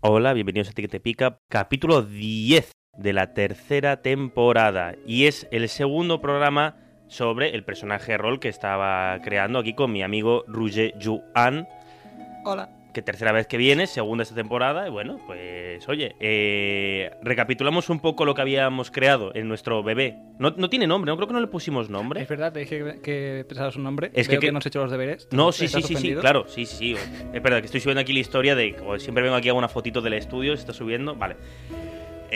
Hola, bienvenidos a Ti que te pica, capítulo 10 de la tercera temporada y es el segundo programa sobre el personaje de rol que estaba creando aquí con mi amigo Ruger Yuan, Hola. que tercera vez que viene, segunda esta temporada y bueno, pues oye, eh, recapitulamos un poco lo que habíamos creado en nuestro bebé. No, no tiene nombre, no creo que no le pusimos nombre. Es verdad, te dije que, que pensabas un nombre. Es Es que- que, que- que no has hecho los deberes. No, sí, sí, ¿Estás sí, sí, ofendido? claro, sí, sí, sí. Es verdad que estoy subiendo aquí la historia de. o siempre vengo aquí a una fotito del estudio, se está subiendo, vale.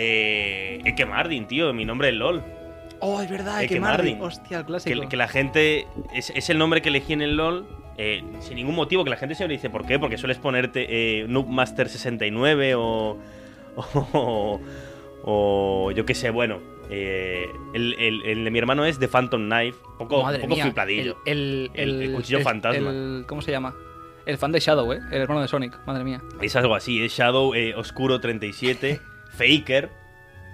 Eh, Eke Mardin, tío, mi nombre es LOL. Oh, es verdad, Eh, que que Mardin. Mardin. Hostia, el Que, clásico. que la gente. Es, es el nombre que elegí en el LOL. eh, sin ningún motivo, que la gente siempre dice, ¿por qué? Porque sueles ponerte eh, Noob Master 69 o. O, o yo qué sé, bueno. eh, el, el- el de mi hermano es The Phantom Knife. Poco, Madre poco mía, flipladillo. El, el, El- el cuchillo fantasma. el- ¿Cómo se llama? El fan de Shadow, ¿eh? El hermano de Sonic, madre mía. Es algo así, es Shadow eh, Oscuro 37, Faker.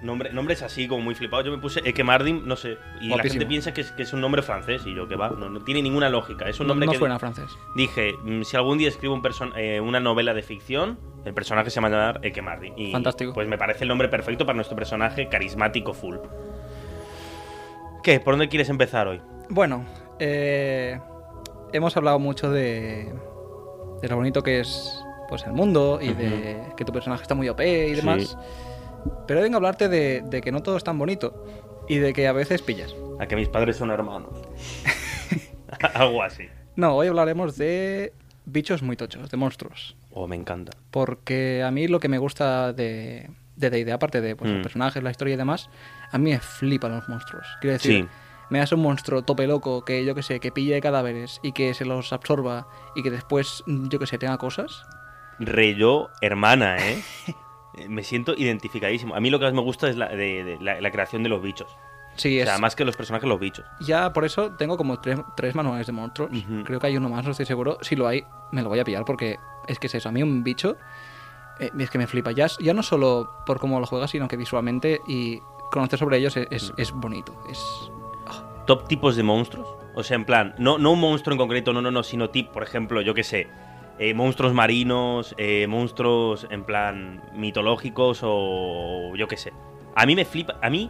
Nombre, nombres así, como muy flipados. Yo me puse Eke Mardin, no sé. Y la Guapísimo. gente piensa que es, que es un nombre francés. Y yo, que va, no, no tiene ninguna lógica. Es un No, nombre no que suena a francés. dije: mm, si algún día escribo un person- eh, una novela de ficción, el personaje se va a llamar Eke Mardin. Y, Fantástico. Pues me parece el nombre perfecto para nuestro personaje, carismático full. ¿Qué? ¿Por dónde quieres empezar hoy? Bueno, eh, hemos hablado mucho de, de lo bonito que es pues, el mundo y de que tu personaje está muy OP y Sí. demás. Pero vengo a hablarte de, de que no todo es tan bonito y de que a veces pillas. A que mis padres son hermanos. algo así. No, hoy hablaremos de bichos muy tochos, de monstruos. Oh, me encanta. Porque a mí lo que me gusta de de D&D, aparte de pues, Mm. los personajes, la historia y demás, a mí me flipan los monstruos. Quiero decir, Sí. me das un monstruo tope loco que, yo que sé, que pille cadáveres y que se los absorba y que después, mm, yo que sé, tenga cosas. Reyo hermana, ¿eh? Eh, me siento identificadísimo. A mí lo que más me gusta es la, de- de- la- la creación de los bichos. Sí, O sea, es... más que los personajes, los bichos. Ya por eso tengo como tres, tres manuales de monstruos. Ujú. Creo que hay uno más, no estoy seguro. Si lo hay, me lo voy a pillar porque es que es eso. A mí un bicho eh, es que me flipa. Ya, es- ya no solo por cómo lo juegas, sino que visualmente y conocer sobre ellos es, es- es bonito. Es... Top tipos de monstruos. O sea, en plan, no, no un monstruo en concreto, no, no, no, sino tip, por ejemplo, yo qué sé. eh, monstruos marinos, eh, monstruos en plan mitológicos o yo qué sé. A mí me flipa, a mí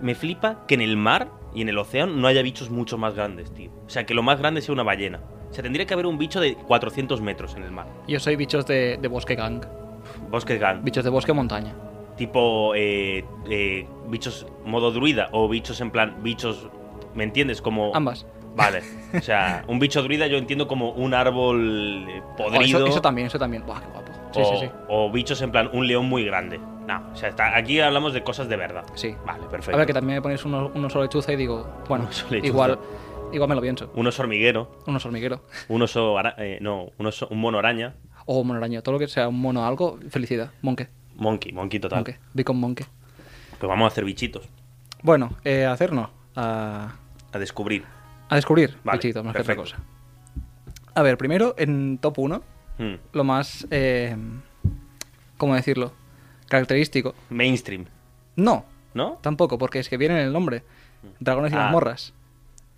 me flipa que en el mar y en el océano no haya bichos mucho más grandes, tío. O sea, que lo más grande sea una ballena. O sea, tendría que haber un bicho de 400 metros en el mar. Yo soy bichos de, de bosque gang, Bosque Gan. bichos de bosque montaña. tipo eh, eh, bichos modo druida o bichos en plan bichos me entiendes como Ambas. vale o sea un bicho druida yo entiendo como un árbol eh, Oh, podrido Oh. eso, eso también, eso también. Buah, qué guapo. Sí, o, sí, sí. o bichos en plan un león muy grande no o sea está- aquí hablamos de cosas de verdad Sí. vale perfecto A ver, que también me pones uno, uno solo lechuza y digo, bueno, Un oso lechuza. igual, igual me lo pienso. un oso hormiguero Un oso hormiguero. un oso ara- eh, no un oso un mono araña O un monoraño. Todo lo que sea un mono algo, felicidad. Monke. monkey monkey total Monke. Beacon Monke. pues vamos a hacer bichitos Bueno, eh, a hacernos. A, a descubrir a descubrir Vale, bichitos, más que otra perfecto. cosa. A ver, primero en top 1, Hmm. lo más. eh, ¿Cómo decirlo? Característico. mainstream No, no tampoco, porque es que viene en el nombre: Dragones y Ah. mazmorras.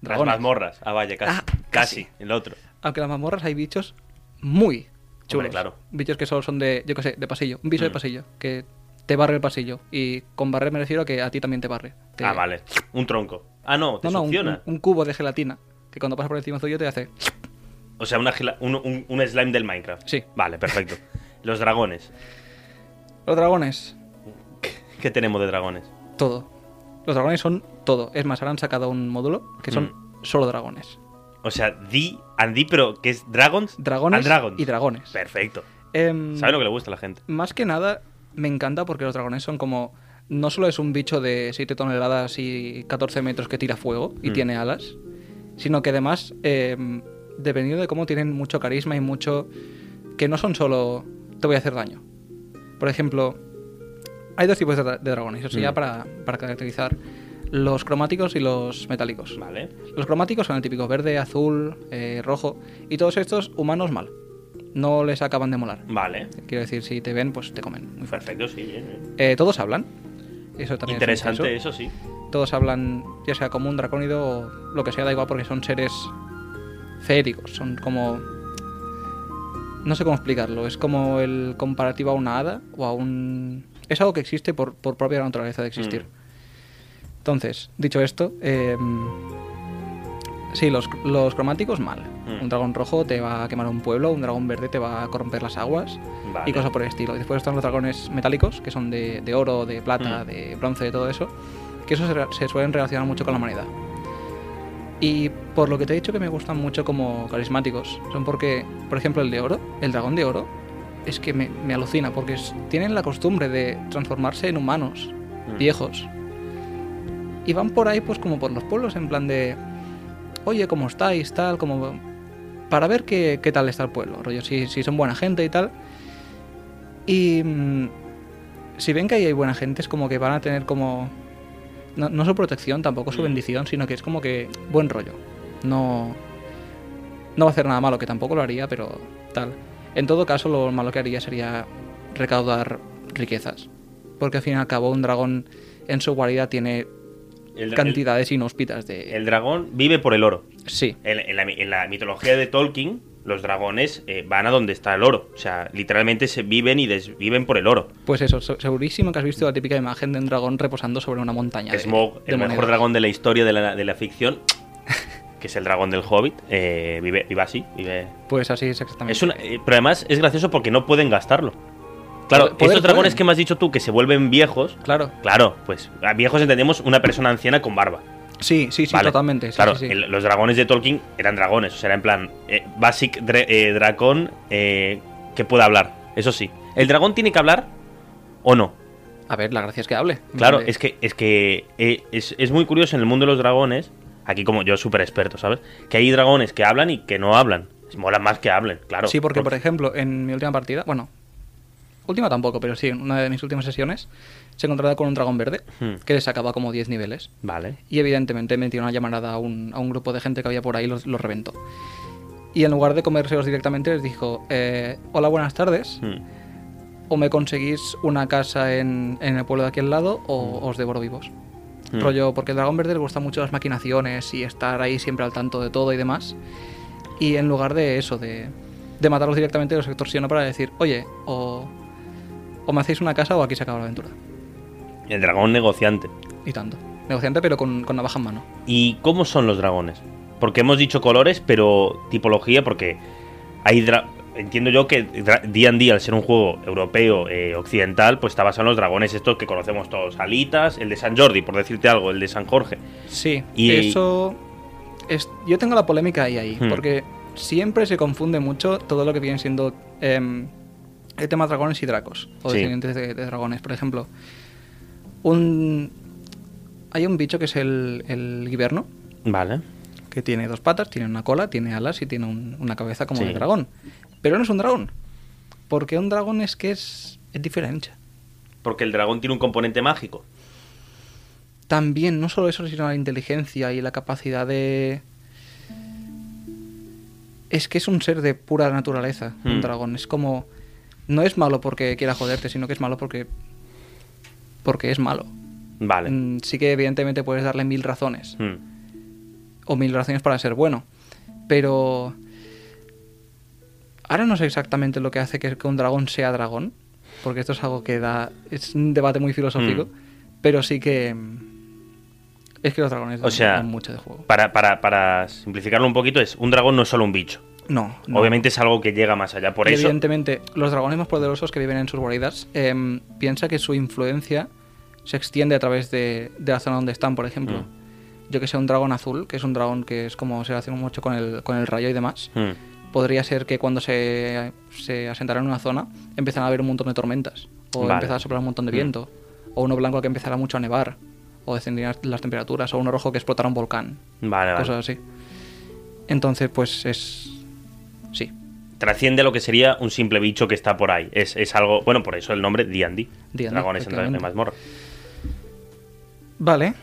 las Dragones. mazmorras ah vaya casi Ah, casi, casi. el otro Aunque en las mazmorras hay bichos muy chulos. Hombre, claro. Bichos que solo son de, yo qué sé, de pasillo. Un bicho de Mm. pasillo que te barre el pasillo. Y con barrer me refiero a que a ti también te barre. Te- Ah, vale. Un tronco. Ah, no, te No, no, un, succiona. un- un cubo de gelatina que cuando pasa por encima tuyo te hace. O sea, una gela- un, un- un slime del Minecraft. Sí. Vale, perfecto. Los dragones. Los dragones, ¿Qué tenemos de dragones? todo. Los dragones son todo. Es más, ahora han sacado un módulo que son Mm. solo dragones. O sea, di and di, pero que es dragons, Dragones and dragons. y dragones. Perfecto. Em, ¿Sabes lo que le gusta a la gente? Más que nada, me encanta porque los dragones son como. No solo es un bicho de 7 toneladas y 14 metros que tira fuego y Mm. tiene alas, sino que además, em, dependiendo de cómo tienen mucho carisma y mucho. que no son solo. te voy a hacer daño. Por ejemplo, hay dos tipos de, dra- de dragones, eso Mm. ya para, para caracterizar: los cromáticos y los metálicos. Vale. Los cromáticos son el típico verde, azul, eh, rojo, y todos estos humanos mal. No les acaban de molar. Vale. Quiero decir, si te ven, pues te comen. Muy fuerte. Perfecto, sí. bien, bien. Eh, todos hablan. Eso también Interesante, es eso sí. intenso. Todos hablan, ya sea como un dracónido o lo que sea, da igual porque son seres feéricos. Son como. No sé cómo explicarlo. Es como el comparativo a una hada o a un. Es algo que existe por, por propia naturaleza de existir. Mm. Entonces, dicho esto, eh, sí, los, los cromáticos mal. Mm. Un dragón rojo te va a quemar un pueblo, un dragón verde te va a corromper las aguas Vale. y cosas por el estilo. Y después están los dragones metálicos, que son de, de oro, de plata, Mm. de bronce, de todo eso, que eso se, re- se suelen relacionar mucho con la humanidad. Y por lo que te he dicho que me gustan mucho como carismáticos, son porque, por ejemplo, el de oro, el dragón de oro, es que me, me alucina, porque es- tienen la costumbre de transformarse en humanos Mm. viejos. Y van por ahí, pues como por los pueblos, en plan de. Oye, ¿cómo estáis? Tal, como. Para ver qué, qué tal está el pueblo, rollo, si, si son buena gente y tal. Y. mm, si ven que ahí hay buena gente, es como que van a tener como. No, no su protección, tampoco su Mm. bendición, sino que es como que buen rollo. No. No va a hacer nada malo, que tampoco lo haría, pero tal. En todo caso, lo malo que haría sería recaudar riquezas. Porque al fin y al cabo, un dragón en su guarida tiene El- el- cantidades inhóspitas de. el dragón vive por el oro. Sí, En, en la, en la mitología de Tolkien, los dragones eh, van a donde está el oro. O sea, literalmente se viven y desviven por el oro. pues eso, se- segurísimo que has visto la típica imagen de un dragón reposando sobre una montaña. de- Smog, de el mejor monedas. dragón de la historia de la, de la ficción, que es el dragón del Hobbit, eh, vive, vive así. Vive. Pues así es exactamente. Es una, eh, pero además es gracioso porque no pueden gastarlo. Claro, Poder- estos poder dragones pueden. que me has dicho tú que se vuelven viejos, Claro. claro, pues a viejos entendemos una persona anciana con barba. Sí, sí, sí, Vale. totalmente. sí, claro, sí, sí. el- los dragones de Tolkien eran dragones, o sea, era en plan eh, basic dre- eh, dragón eh, que pueda hablar, eso sí. ¿El dragón tiene que hablar o no? A ver, la gracia es que hable. Claro, Vale. es que, es, que eh, es, es muy curioso en el mundo de los dragones, aquí como yo súper experto, ¿sabes? Que hay dragones que hablan y que no hablan. Mola más que hablen, claro. Sí, porque por ejemplo, en mi última partida, bueno, última tampoco, pero sí, en una de mis últimas sesiones, se encontraba con un dragón verde Hmm. que le sacaba como 10 niveles. Vale. Y evidentemente metió una llamarada a un, a un grupo de gente que había por ahí y los, los reventó. Y en lugar de comérselos directamente, les dijo: eh, Hola, buenas tardes. Hmm. O me conseguís una casa en, en el pueblo de aquí al lado, o os devoro vivos. Mm. Rollo, porque el dragón verde le gustan mucho las maquinaciones y estar ahí siempre al tanto de todo y demás. Y en lugar de eso, de, de matarlos directamente, los extorsionó para decir: Oye, o, o me hacéis una casa o aquí se acaba la aventura. El dragón negociante. Y tanto. Negociante, pero con, con navaja en mano. ¿Y cómo son los dragones? Porque hemos dicho colores, pero tipología, porque hay dra- entiendo yo que dra- D&D, al ser un juego europeo, eh, occidental, pues está basado en los dragones estos que conocemos todos. Alitas, el de San Jordi, por decirte algo, el de San Jorge. Sí, Y- eso. es- yo tengo la polémica ahí, ahí, Hmm. porque siempre se confunde mucho todo lo que viene siendo em, el tema dragones y dracos, o Sí. descendientes de, de dragones. Por ejemplo, un. Hay un bicho que es el, el guiberno, Vale. que tiene dos patas, tiene una cola, tiene alas y tiene un- una cabeza como Sí. de dragón. Pero no es un dragón, porque un dragón es que es, es diferente. Porque el dragón tiene un componente mágico. también, no solo eso, sino la inteligencia y la capacidad de... Es que es un ser de pura naturaleza, Hmm. un dragón. Es como... No es malo porque quiera joderte, sino que es malo porque... Porque es malo. Vale. Mm, Sí que evidentemente puedes darle mil razones. Hmm. O mil razones para ser bueno. Pero... Ahora no sé exactamente lo que hace que que un dragón sea dragón. Porque esto es algo que da... Es un debate muy filosófico. Hmm. Pero sí que... Es que los dragones O sea, dan mucho de juego. Para, para, para simplificarlo un poquito, es un dragón no es solo un bicho. No, no. Obviamente es algo que llega más allá. Por Y eso. Evidentemente, los dragones más poderosos que viven en sus guaridas em, piensa que su influencia se extiende a través de, de la zona donde están, por ejemplo. Mm. Yo que sé, un dragón azul, que es un dragón que es como se relaciona mucho con el, con el rayo y demás. Hmm. Podría ser que cuando se, se asentaran en una zona empezaran a haber un montón de tormentas, o Vale. empezara a soplar un montón de Mm. viento, o uno blanco que empezara mucho a nevar, o descendieran las temperaturas, o uno rojo que explotara un volcán, Vale, vale. cosas así. Entonces, pues es. Sí, Trasciende a lo que sería un simple bicho que está por ahí. Es, es algo. Bueno, por eso el nombre D&D. D&D, Dragones en Dragones efectivamente. Mazmorra. Vale.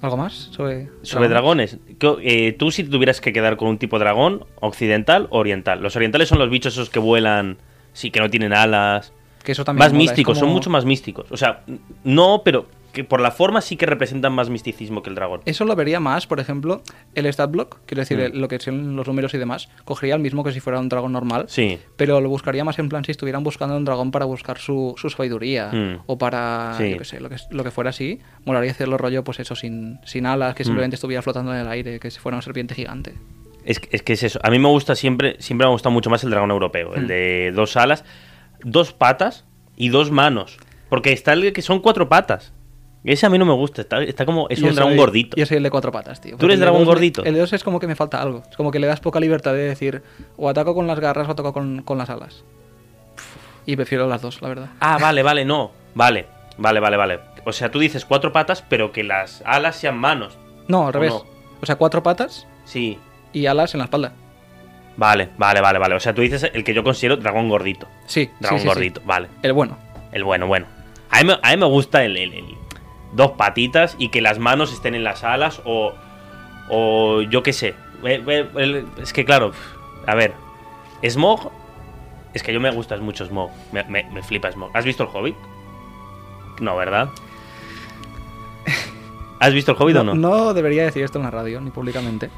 ¿Algo más sobre, Sobre dragones, ¿qué- eh, tú si te tuvieras que quedar con un tipo de dragón, occidental o oriental. Los orientales son los bichos esos que vuelan, sí, que no tienen alas. Que eso también Más mola, es místicos, son como- mucho más místicos. O sea, n- no, pero que por la forma sí que representan más misticismo que el dragón. Eso lo vería más, por ejemplo, el stat block, quiero decir, Mm. el- lo que son los números y demás, cogería el mismo que si fuera un dragón normal. Sí. Pero lo buscaría más en plan si estuvieran buscando un dragón para buscar su, su sabiduría Mm. o para, Sí. yo qué sé, lo que, lo que fuera así. Molaría hacerlo rollo, pues eso, sin, sin alas, Mm. que simplemente estuviera flotando en el aire, que si fuera una serpiente gigante. Es, que- es que es eso. A mí me gusta siempre, siempre me ha gustado mucho más el dragón europeo, Mm. el de dos alas, dos patas y dos manos. Porque está el que son cuatro patas. Ese a mí no me gusta, está, está como, es Y un yo dragón soy- gordito. Yo soy el de cuatro patas, tío. ¿Tú porque eres el de dragón dos me- gordito? el de dos es como que me falta algo. Es como que le das poca libertad de decir o ataco con las garras o ataco con, con las alas. Y prefiero las dos, la verdad. Ah, vale, vale, no. Vale, vale, vale, vale. O sea, tú dices cuatro patas, pero que las alas sean manos. No, al revés. no? O sea, cuatro patas Sí. y alas en la espalda. Vale, vale, vale, vale. O sea, tú dices el que yo considero dragón gordito. Sí, Dragón sí, sí, sí. gordito, vale. El bueno. El bueno, bueno. A mí, me- a mí me gusta el, el- el dos patitas y que las manos estén en las alas o, o yo qué sé. Eh, eh, el- Es que claro, a ver, Smog, es que yo me gustas mucho Smog, me, me- me flipa Smog. ¿Has visto el Hobbit? No, ¿verdad? ¿Has visto el Hobbit o no? debería decir esto en la radio, ni públicamente.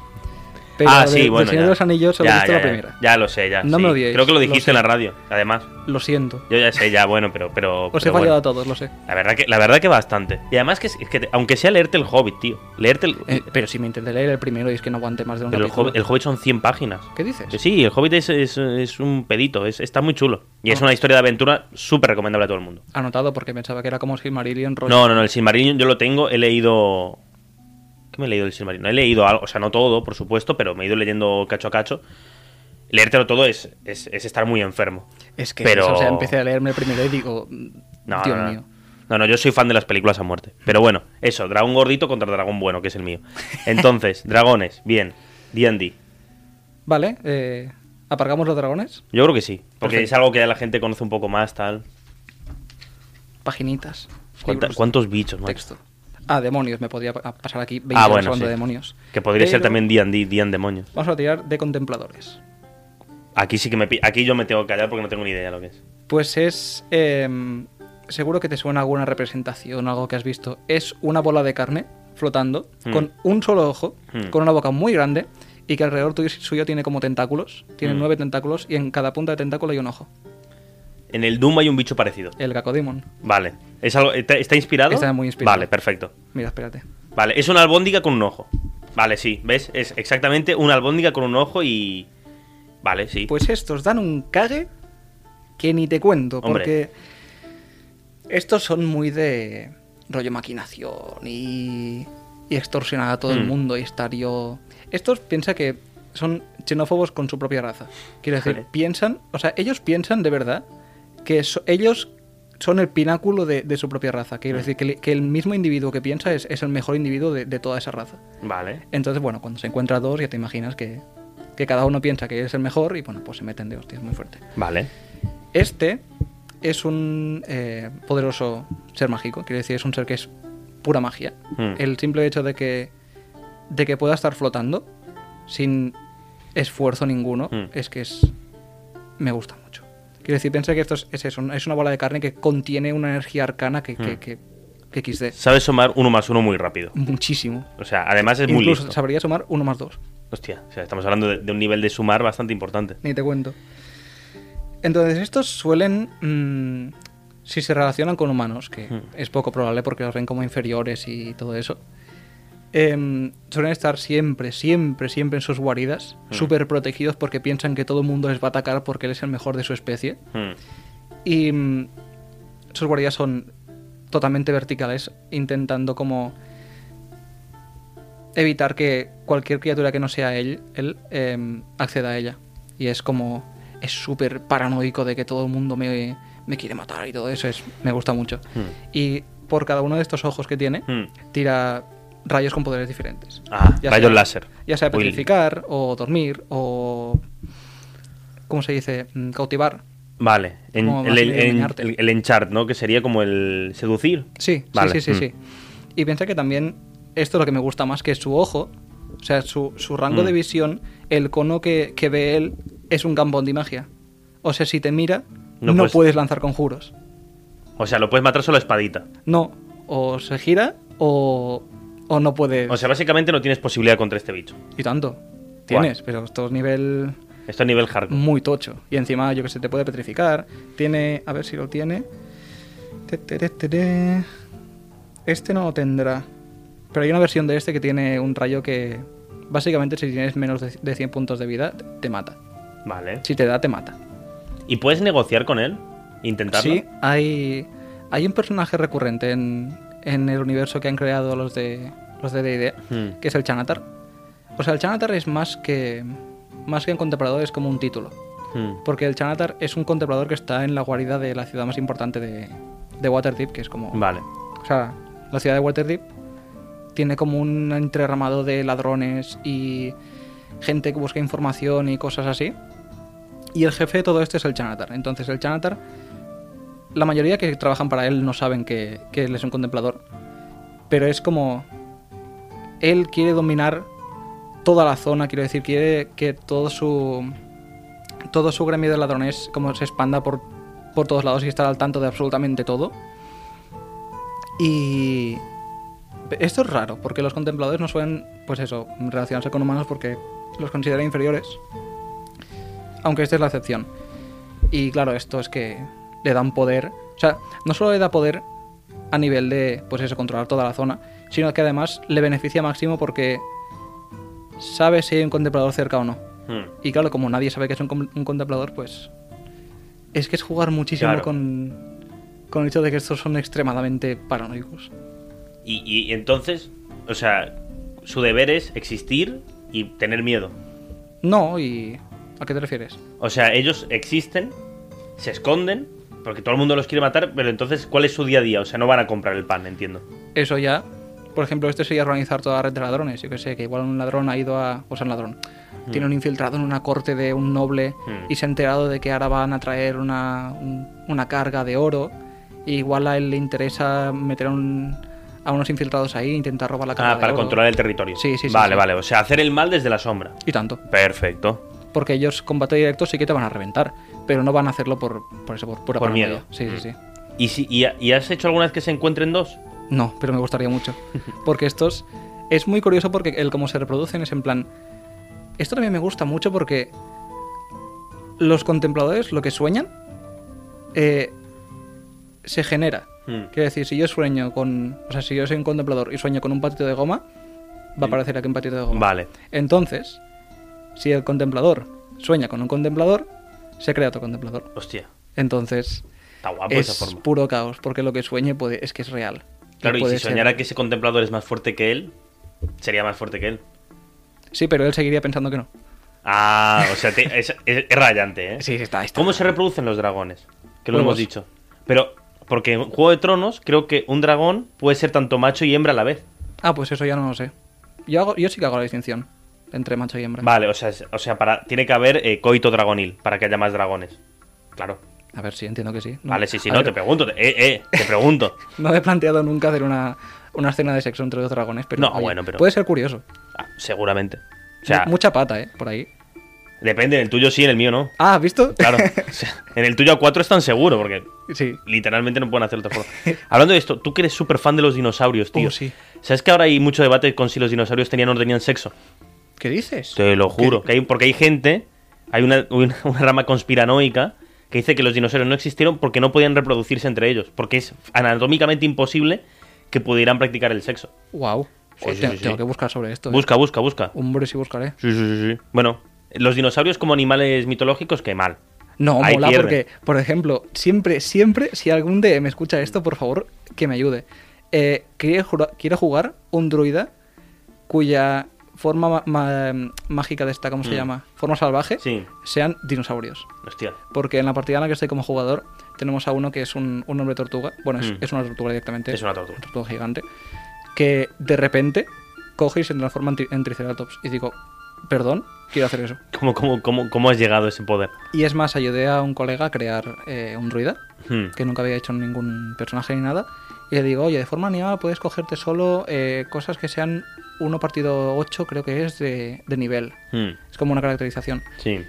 Pero ah, de- sí, del bueno. Señor ya. de los Anillos solo he Ya, visto ya, la ya. primera. Ya lo sé, ya. No sí. me odiéis, Creo que lo lo dijiste en sé. la radio, además. Lo siento. Yo ya sé, ya, bueno, pero. pero Os he pero fallado bueno. a todos, lo sé. La verdad que, la verdad que bastante. Y además que, es es que te- aunque sea leerte el Hobbit, tío. Leerte el. Eh, pero si me intenté leer el primero y es que no aguante más de un pero el, capítulo. Hobbit, el Hobbit son 100 páginas. ¿Qué dices? Que Sí, el Hobbit es, es- es un pedito, es- está muy chulo. Y es Ah. una historia de aventura súper recomendable a todo el mundo. Anotado porque pensaba que era como Silmarillion rollo. No, no, no, el Silmarillion yo lo tengo, he leído... ¿Qué me he leído del Silmarillion? He leído algo, o sea, no todo, por supuesto, pero me he ido leyendo cacho a cacho. Leértelo todo es, es, es estar muy enfermo. Es que Pero- eso, o sea, empecé a leerme el primero y digo, "Mm, No, Dios no, no. mío. No, no, yo soy fan de las películas a muerte. Pero bueno, eso, dragón gordito contra dragón bueno, que es el mío. Entonces, dragones, bien. D&D. Vale, eh, aparcamos los dragones, Yo creo que sí, porque Perfecto. es algo que ya la gente conoce un poco más, tal. paginitas, ¿Cuánta- libros, ¿Cuántos bichos, macho? texto. Ah, demonios, me podría pa- pasar aquí 20 Ah, horas bueno, hablando sí. de demonios. Que podría ser Pero también D&D, D and demonios. Vamos a tirar de contempladores. Aquí sí que me pi- aquí yo me tengo que callar porque no tengo ni idea de lo que es. Pues es... em, seguro que te suena alguna representación, algo que has visto. Es una bola de carne flotando, Hmm. con un solo ojo, Hmm. con una boca muy grande, y que alrededor tuyo, suyo tiene como tentáculos. Tiene Hmm. nueve tentáculos, y en cada punta de tentáculo hay un ojo. En el Doom hay un bicho parecido. El Gacodemon. Vale. ¿Es algo, ¿está, está inspirado? Está muy inspirado. Vale, perfecto. Mira, espérate. Vale, es una albóndiga con un ojo. Vale, sí, ¿ves? Es exactamente una albóndiga con un ojo y... Vale, sí. Pues estos dan un cague que ni te cuento, Hombre. porque estos son muy de rollo maquinación y, y extorsionar a todo el Mm. mundo y estar yo... Estos piensa que son xenófobos con su propia raza. Quiero decir, Vale. piensan, o sea, ellos piensan de verdad que so- ellos son el pináculo de, de su propia raza. Mm. Quiero decir, que, le- que el mismo individuo que piensa es, es el mejor individuo de- de toda esa raza. Vale. Entonces, bueno, cuando se encuentra dos ya te imaginas que, que cada uno piensa que es el mejor y bueno, pues se meten de hostias muy fuerte. Vale. Este es un eh, poderoso ser mágico, quiere decir, es un ser que es pura magia. Hmm. El simple hecho de que, de que pueda estar flotando sin esfuerzo ninguno Hmm. es que es... me gusta mucho. Quiero decir, piensa que esto es, es eso, es una bola de carne que contiene una energía arcana que, Hmm. que, que- que XD. Sabes sumar uno más uno muy rápido. Muchísimo. O sea, además es muy Incluso listo. sabría sumar uno más dos. Hostia, o sea, estamos hablando de, de un nivel de sumar bastante importante. ni te cuento. Entonces, estos suelen, mm, si se relacionan con humanos, que Hmm. es poco probable porque los ven como inferiores y todo eso, em, suelen estar siempre, siempre, siempre en sus guaridas, Mm. súper protegidos porque piensan que todo el mundo les va a atacar porque él es el mejor de su especie. Hmm. Y mm, sus guaridas son totalmente verticales, intentando como evitar que cualquier criatura que no sea él, él em, acceda a ella. Y es como, es súper paranoico de que todo el mundo me, me quiere matar y todo eso, es, me gusta mucho. Hmm. Y por cada uno de estos ojos que tiene, Hmm. tira rayos con poderes diferentes. Ah, Ya rayos sea- láser. Ya sea Uy, petrificar, o dormir, o... ¿Cómo se dice? Mm, Cautivar. Vale, en- Como el, más el, medio en- engañarte. el- el enchart, ¿no? Que sería como el seducir. Sí, sí, Vale, sí, sí, mm. sí. Y piensa que también esto es lo que me gusta más, que su ojo, o sea, su, su rango Mm. de visión, el cono que, que ve él es un gambón de magia. O sea, si te mira, No no, puedes- puedes... lanzar conjuros. O sea, lo puedes matar solo a espadita. No, o se gira o, o no puedes. O sea, básicamente no tienes posibilidad contra este bicho. y tanto. Tienes, pero esto es nivel Esto es nivel hardcore. muy tocho. Y encima, yo que sé, te puede petrificar. Tiene. A ver si lo tiene. Te, te, te, te, te. Este no lo tendrá. Pero hay una versión de este que tiene un rayo que. Básicamente, si tienes menos de de 100 puntos de vida, te- te mata. Vale. Si te da, te mata. ¿Y puedes negociar con él? ¿Intentarlo? Sí, hay. Hay un personaje recurrente en, en el universo que han creado los de. Los de DD. Hmm. que es el Chanatar. O sea, el Chanatar es más que. Más que un contemplador, es como un título. Hmm. Porque el Chanatar es un contemplador que está en la guarida de la ciudad más importante de, de Waterdeep, que es como... Vale. O sea, la ciudad de Waterdeep tiene como un entreramado de ladrones y gente que busca información y cosas así. Y el jefe de todo esto es el Chanatar. Entonces el Chanatar, la mayoría que trabajan para él no saben que, que él es un contemplador. Pero es como... Él quiere dominar toda la zona, quiero decir, quiere que todo su todo su gremio de ladrones como se expanda por, por todos lados y estar al tanto de absolutamente todo. Y esto es raro, porque los contempladores no suelen, pues eso, relacionarse con humanos porque los consideran inferiores. Aunque esta es la excepción. Y claro, esto es que le dan poder. O sea, no solo le da poder a nivel de, pues eso, controlar toda la zona, sino que además le beneficia máximo porque sabe si hay un contemplador cerca o no. Hmm. Y claro, como nadie sabe que es un, com- un contemplador, pues. Es que es jugar muchísimo Claro. con, con el hecho de que estos son extremadamente paranoicos. Y, y entonces, o sea, su deber es existir y tener miedo. No, y. ¿A qué te refieres? O sea, ellos existen, se esconden, porque todo el mundo los quiere matar, pero entonces, ¿cuál es su día a día? O sea, no van a comprar el pan, entiendo. Eso ya. Por ejemplo, este sería organizar toda la red de ladrones. Yo que sé, que igual un ladrón ha ido a. O sea, un ladrón. Mm. Tiene un infiltrado en una corte de un noble Hmm. y se ha enterado de que ahora van a traer una, un- una carga de oro. Y igual a él le interesa meter a, un- a unos infiltrados ahí e intentar robar la carga Ah, de para oro. controlar el territorio. Sí, sí, sí, Vale, sí. vale. O sea, hacer el mal desde la sombra. Y tanto. Perfecto. porque ellos combate directo sí que te van a reventar, pero no van a hacerlo por, por eso, por pura Por paranoia. miedo. Mm. Sí, sí, sí. ¿Y, si, y, ha- y has hecho alguna vez que se encuentren dos? No, pero me gustaría mucho. Porque estos. Es muy curioso porque el cómo se reproducen es en plan. Esto también me gusta mucho porque. Los contempladores lo que sueñan. eh, se genera. Hmm. Quiero decir, si yo sueño con. O sea, si yo soy un contemplador y sueño con un patito de goma, va a aparecer aquí un patito de goma. Vale. Entonces, si el contemplador sueña con un contemplador, se crea otro contemplador. Hostia, Entonces, está guapo Ah, pues es esa forma. puro caos, porque lo que sueñe puede, es que es real. Claro, y puede si ser- soñara que ese contemplador es más fuerte que él, sería más fuerte que él. Sí, pero él seguiría pensando que no. Ah, o sea, te- es, es- es rayante, ¿eh? Sí, sí, está, pues- está. ¿Cómo se reproducen los dragones? Que lo Huevos. hemos dicho. Pero, porque en Juego de Tronos creo que un dragón puede ser tanto macho y hembra a la vez. Ah, pues eso ya no lo sé. Yo, hago, yo sí que hago la distinción entre macho y hembra. Vale, o sea, es- o sea para, tiene que haber eh, coito dragonil para que haya más dragones. Claro. A ver, sí, entiendo que sí. No- Vale, sí, sí, a no, ver, te pregunto. te- eh, eh, te pregunto. No he planteado nunca hacer una, una escena de sexo entre dos dragones, pero, No, bueno, pero- puede ser curioso. Ah, seguramente. O sea, Mu- Mucha pata, ¿eh? Por ahí. depende, en el tuyo sí, en el mío no. Ah, ¿has visto? Claro. O sea, en el tuyo a cuatro están seguro, porque sí. literalmente no pueden hacer otra forma. Hablando de esto, tú que eres súper fan de los dinosaurios, tío. Oh, sí. ¿Sabes que ahora hay mucho debate con si los dinosaurios tenían o no tenían sexo? ¿Qué dices? Te lo juro. Que hay, porque hay gente, hay una, una- una rama conspiranoica que dice que los dinosaurios no existieron porque no podían reproducirse entre ellos. Porque es anatómicamente imposible que pudieran practicar el sexo. Wow. Sí, Oh, sí, te- sí, sí. Tengo que buscar sobre esto. eh. Busca, busca, busca. Hombre, sí buscaré. Sí, sí, sí, sí. Bueno, los dinosaurios como animales mitológicos, que mal. No, Ahí mola pierde. porque, por ejemplo, siempre, siempre, si algún de me escucha esto, por favor, que me ayude. Eh, quiero, jura- quiero jugar un druida cuya forma ma- ma- mágica de esta, ¿cómo se Mm. llama? Forma salvaje, Sí. sean dinosaurios. Hostia. Porque en la partida en la que estoy como jugador, tenemos a uno que es un, un hombre tortuga. Bueno, es, Mm. es una tortuga directamente. Es una tortuga. tortuga gigante. Que de repente coge y se transforma en, tri- en triceratops. Y digo, perdón, quiero hacer eso. ¿Cómo, cómo, cómo, cómo has llegado a ese poder? Y es más, ayudé a un colega a crear eh, un druida, Hmm. que nunca había hecho ningún personaje ni nada. Y le digo, oye, de forma animada puedes cogerte solo eh, cosas que sean uno partido 8, creo que es, de, de nivel. Hmm. Es como una caracterización. Sí.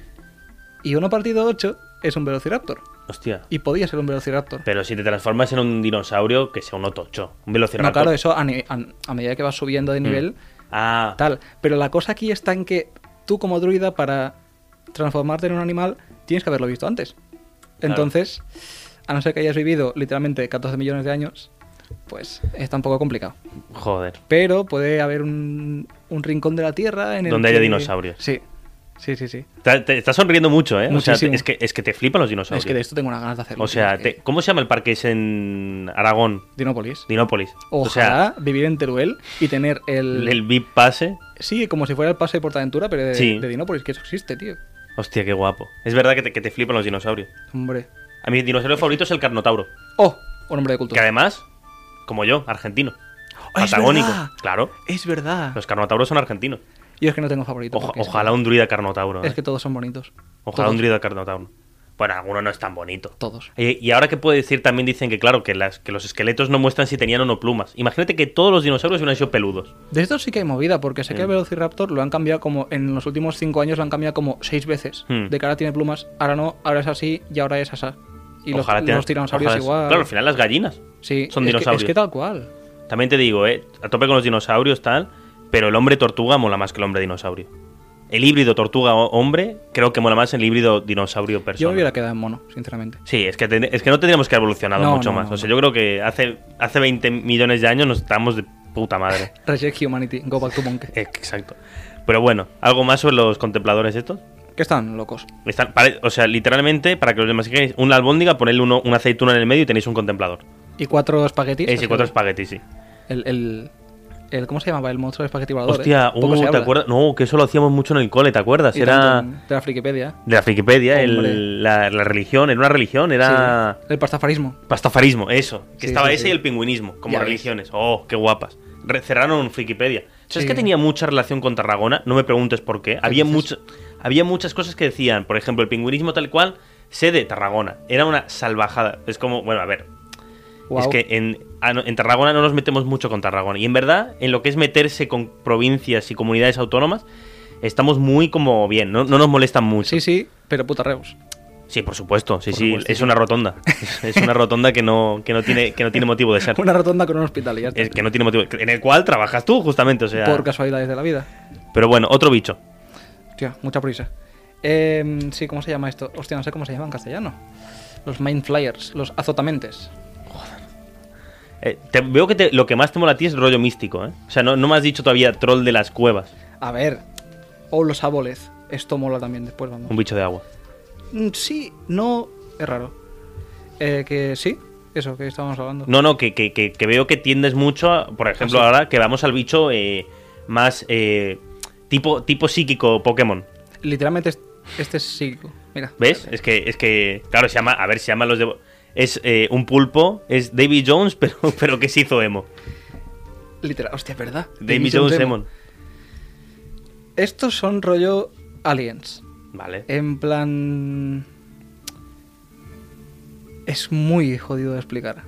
Y uno partido 8 es un velociraptor. Hostia. Y podía ser un velociraptor. Pero si te transformas en un dinosaurio, que sea un otocho. Un velociraptor. No, claro, eso a, ni- a- a medida que vas subiendo de Mm. nivel, Ah, tal. Pero la cosa aquí está en que tú como druida, para transformarte en un animal, tienes que haberlo visto antes. Entonces, a no ser que hayas vivido literalmente 14 millones de años, pues está un poco complicado. joder. Pero puede haber un, un rincón de la Tierra en el Donde haya que- dinosaurios. Sí, sí, sí, sí. Te, te estás sonriendo mucho, ¿eh? O sea, Muchísimo. te- es, que, es que te flipan los dinosaurios. Es que de esto eh. tengo unas ganas de hacerlo. O sea, tío, te- que- ¿cómo se llama el parque ese en Aragón? Dinópolis. Dinópolis. Ojalá O sea, vivir en Teruel y tener el... el VIP pase. Sí, como si fuera el pase de Portaventura, pero de, Sí. de Dinópolis, que eso existe, tío. Hostia, qué guapo. Es verdad que te, que te flipan los dinosaurios. Hombre. A mi dinosaurio favorito es el Carnotauro. Oh, un hombre de cultura. Que además, como yo, argentino. Ah, es Patagónico. verdad. Claro. Es verdad. Los carnotauros son argentinos. Yo es que no tengo favorito. Oja- porque es que- ojalá un druida carnotauro. Es eh. que todos son bonitos. Ojalá todos, un druida carnotauro. Bueno, alguno no es tan bonito. Todos. Eh, Y ahora que puedo decir, también dicen que, claro, que, las, que los esqueletos no muestran si tenían o no plumas. Imagínate que todos los dinosaurios hubieran sido peludos. De estos sí que hay movida, porque Mm. sé que el Velociraptor lo han cambiado como. En los últimos cinco años lo han cambiado como seis veces. Hmm. De que ahora tiene plumas, ahora no, ahora es así y ahora es asá. Y los- ojalá los, tengan- tiranosaurios ojalá- igual. Claro, al final las gallinas. sí, son es que- dinosaurios. es que tal cual. También te digo, eh, a tope con los dinosaurios, tal, pero el hombre tortuga mola más que el hombre dinosaurio. El híbrido tortuga-hombre creo que mola más el híbrido Yo me dinosaurio-persona. hubiera quedado en mono, sinceramente. Sí, es que, ten- es que no tendríamos que haber evolucionado No, mucho no, más. no, o sea, no. yo creo que hace, hace 20 millones de años nos estábamos de puta madre. Reject Humanity, Go Back to Monkey. Eh, Exacto. Pero bueno, ¿algo más sobre los contempladores estos? que están locos. Están- pare- o sea, literalmente, para que los demás queráis, una albóndiga, ponerle uno, una aceituna en el medio y tenéis un contemplador. Y cuatro espaguetis. Eh, sí, así, cuatro espaguetis, sí. El, el, el- ¿Cómo se llamaba? El monstruo de espagueti volador. Hostia, eh. Poco uh, se ¿te habla. acuerdas? No, que eso lo hacíamos mucho en el cole, ¿te acuerdas? Y Era... tanto en- De la Frikipedia. De la Wikipedia, Hombre. el- la, la religión, era una religión, era Sí, el pastafarismo. pastafarismo, eso. Que Sí, estaba sí, ese sí. y el pingüinismo, como Ya ves. religiones. Oh, qué guapas. Re- cerraron Wikipedia. ¿Sabes Sí. que tenía mucha relación con Tarragona? No me preguntes por qué. Había, dices? mucho, había muchas cosas que decían, por ejemplo, el pingüinismo tal cual, sede de Tarragona. Era una salvajada. Es como, bueno, a ver. Guau. Es que en, a no- en Tarragona no nos metemos mucho con Tarragona. Y en verdad, en lo que es meterse con provincias y comunidades autónomas, estamos muy como bien. No, no nos molestan mucho. Sí, sí, pero puta Reus. Sí, por supuesto, sí, Por sí, supuesto. es una rotonda. Es una rotonda que no, que no tiene, que no tiene motivo de ser. Una rotonda con un hospital y ya está. Es que no tiene motivo. En el cual trabajas tú, justamente. O sea. Por casualidades de la vida. Pero bueno, otro bicho. Hostia, mucha prisa. Eh, sí, ¿cómo se llama esto? Hostia, no sé cómo se llama en castellano. Los mind flyers, los azotamentes. Eh, te, veo que te- lo que más te mola a ti es rollo místico, ¿eh? O sea, no, no me has dicho todavía troll de las cuevas. A ver. O los aboles. Esto mola también después, vamos. Un bicho de agua. Mm, Sí, no. Es raro. Eh, que sí, eso que estábamos hablando. No, no, que, que- que- que veo que tiendes mucho, a- por ejemplo, Ah, sí. ahora que vamos al bicho eh, más eh, tipo, tipo psíquico Pokémon. Literalmente es- este es psíquico. Mira. ¿Ves? Es que, es que, claro, se llama, a ver, se llama los de... Es eh, un pulpo, es David Jones, pero, pero que se hizo emo. Literal. Hostia, ¿verdad? David Jones Jones Demon. Demon. Estos son rollo aliens. Vale. En plan. Es muy jodido de explicar.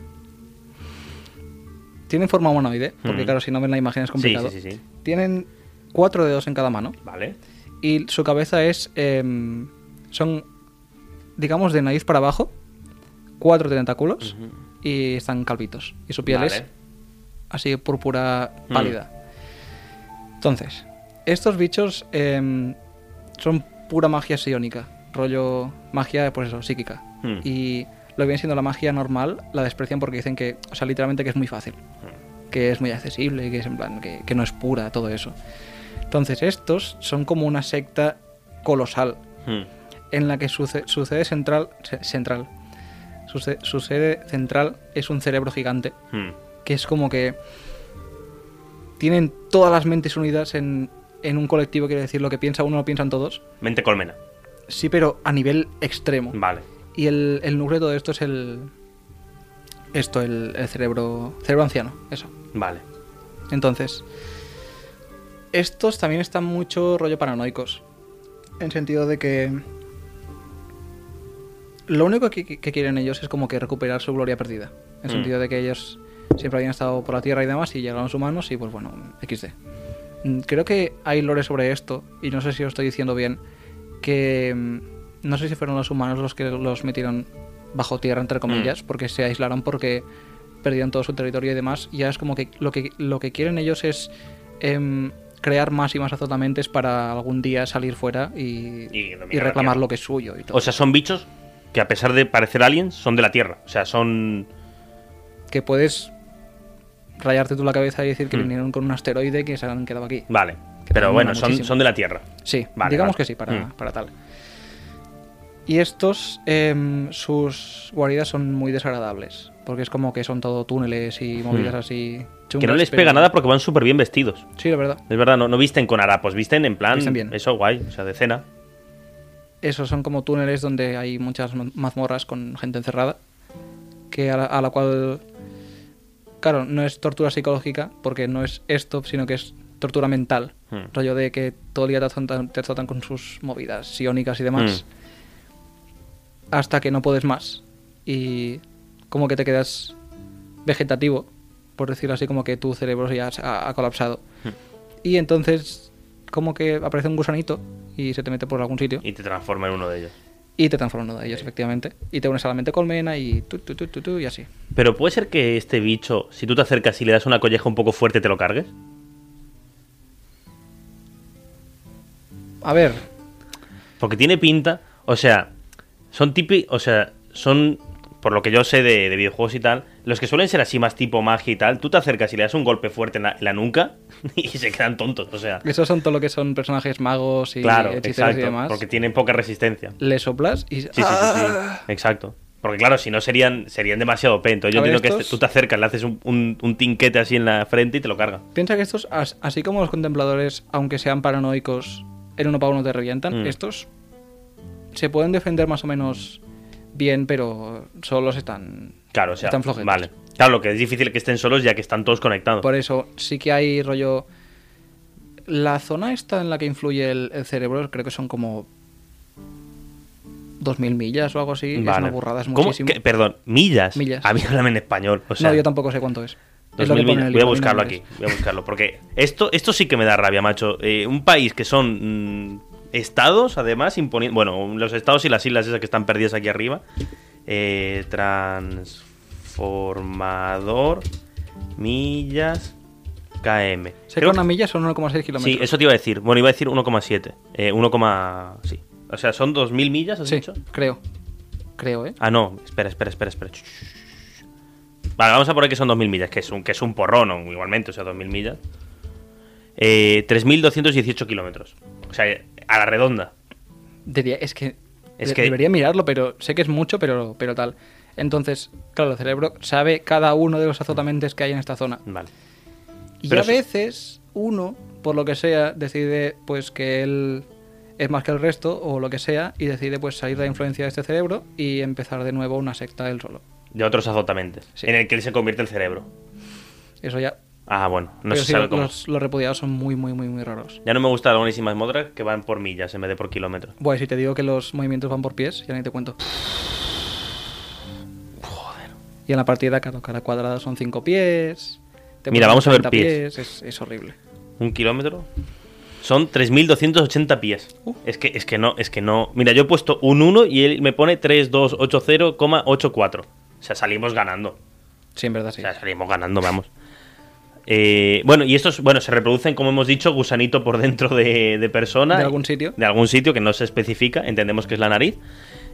Tienen forma humanoide, porque Mm. claro, si no ven la imagen es complicado. Sí, sí, sí, sí. Tienen cuatro dedos en cada mano Vale. y su cabeza es. em, son, digamos, de nariz para abajo, cuatro tentáculos y están calvitos. Y su piel es Vale. así púrpura Mm. pálida. Entonces, estos bichos em, son pura magia psiónica, rollo magia, pues eso, psíquica. Mm. Mm. Y lo que viene siendo la magia normal la desprecian porque dicen que, o sea, literalmente que es muy fácil. que es muy accesible, que es en plan, que, que no es pura, todo eso. Entonces, estos son como una secta colosal Hmm. en la que su, ce- su sede central. se- central su, ce- su sede central es un cerebro gigante, Hmm. que es como que. Tienen todas las mentes unidas en, en un colectivo, quiere decir, lo que piensa uno lo piensan todos. Mente colmena. Sí, pero a nivel extremo. Vale. Y el, el núcleo de todo esto es el. Esto, el, el cerebro. Cerebro anciano, eso. Vale. Entonces. Estos también están mucho rollo paranoicos. En sentido de que. Lo único que, que quieren ellos es como que recuperar su gloria perdida. En Mm. sentido de que ellos siempre habían estado por la tierra y demás y llegaron los humanos y pues bueno, XD. Mm, Creo que hay lore sobre esto, y no sé si lo estoy diciendo bien, que mm, no sé si fueron los humanos los que los metieron bajo tierra, entre comillas, Mm. porque se aislaron porque perdieron todo su territorio y demás. Y ya es como que lo que, lo que quieren ellos es em, crear más y más azotamentes para algún día salir fuera y, Y dominar y la reclamar tierra. lo que es suyo. Y todo. O sea, son bichos que a pesar de parecer aliens, son de la Tierra. O sea, son... que puedes rayarte tú la cabeza y decir que Mm. vinieron con un asteroide que se han quedado aquí. Vale. Que Pero mola bueno, son, muchísimo. son de la Tierra. Sí, Vale, digamos vale. que sí, para, Mm. para tal. Y estos, em, sus guaridas son muy desagradables, porque es como que son todo túneles y movidas Mm. así chungas. Que no les pero- pega nada porque van súper bien vestidos. Sí, la verdad. Es verdad, no, no visten con harapos, visten en plan... Visten bien. Eso, guay. O sea, de cena. Esos son como túneles donde hay muchas ma- mazmorras con gente encerrada, que a la, a la cual... Claro, no es tortura psicológica, porque no es esto, sino que es tortura mental. Mm. Rollo de que todo el día te tratan, te tratan con sus movidas psiónicas y demás. Mm. Hasta que no puedes más. Y como que te quedas vegetativo, por decirlo así, como que tu cerebro ya se ha, ha colapsado. Mm. Y entonces como que aparece un gusanito y se te mete por algún sitio. Y te transforma en uno de ellos. Y te transforma en uno de ellos, efectivamente. Y te unes a la mente colmena y tu, tu, tu, tu, tu, y así. Pero puede ser que este bicho, si tú te acercas y le das una colleja un poco fuerte, te lo cargues. A ver, Porque tiene pinta, o sea, son tipi, o sea, son, por lo que yo sé de, de videojuegos y tal, los que suelen ser así más tipo magia y tal, tú te acercas y le das un golpe fuerte en la, en la nuca y se quedan tontos, o sea, esos son todo lo que son personajes magos y claro, hechiceros exacto, y demás. porque tienen poca resistencia. Le soplas y... ¡Ah! Sí, sí, sí, sí, exacto. Porque claro, si no serían serían demasiado P. Entonces yo A ver, entiendo que estos- este- tú te acercas, le haces un, un- un tinquete así en la frente y te lo carga. Piensa que estos, as- así como los contempladores, aunque sean paranoicos, en uno para uno te revientan, Mm. estos se pueden defender más o menos bien, pero solos están... Claro, o sea, Están flojetes. vale. Claro, lo que es difícil que estén solos ya que están todos conectados. Por eso sí que hay rollo... La zona esta en la que influye el, el cerebro creo que son como 2.000 millas o algo así. Es Vale. una burrada, es ¿Cómo? muchísimo. ¿Qué? Perdón, millas. Millas. A mí háblame en español. O sea, no, yo tampoco sé cuánto es. 2000 Es lo que pone en millas. Voy el a libro, mí no buscarlo me aquí, interesa. voy a buscarlo, porque esto, esto sí que me da rabia, macho. Eh, un país que son mm, estados, además, imponiendo... Bueno, los estados y las islas esas que están perdidas aquí arriba. Eh, transformador, millas, KM. Sé que Creo una que- milla son 1,6 kilómetros. Sí, eso te iba a decir. Bueno, iba a decir 1,7. Eh, 1, sí. O sea, son 2.000 millas, has Sí, dicho. creo. Creo, ¿eh? Ah, no, espera, espera, espera, espera. Ch, ch, ch. Vale, vamos a poner que son 2.000 millas, que es un, que es un porrón, o igualmente, o sea, 2.000 millas. Eh, 3.218 kilómetros. O sea, a la redonda. Diría, es que, Es de- que- debería mirarlo, pero sé que es mucho, pero, pero tal. Entonces, claro, el cerebro sabe cada uno de los azotamentes que hay en esta zona. Vale. Y Mm. Pero a eso- veces uno, por lo que sea, decide pues que él es más que el resto o lo que sea y decide pues salir de la influencia de este cerebro y empezar de nuevo una secta él solo. De otros azotamientos. Sí. En el que él se convierte el cerebro. Eso ya. Ah, bueno, no pero se sí, sabe los- cómo. los, los repudiados son muy, muy, muy, muy raros. Ya no me gustan las buenísimas modas que van por millas en vez de por kilómetros. Bueno, si te digo que los movimientos van por pies, ya ni te cuento. Y en la partida, claro, cada cuadrada son 5 pies. te Mira, ponen vamos a ver 30 pies. Es, es horrible. Un kilómetro. Son 3.280 pies. Uh. Es, que, es que no, es que no. Mira, yo he puesto un 1 y él me pone 3280,84. O sea, salimos ganando. Sí, en verdad sí. O sea, salimos ganando, vamos. Eh, bueno, y estos, bueno, se reproducen, como hemos dicho, gusanito por dentro de, de persona. De algún sitio. De algún sitio que no se especifica, entendemos que es la nariz.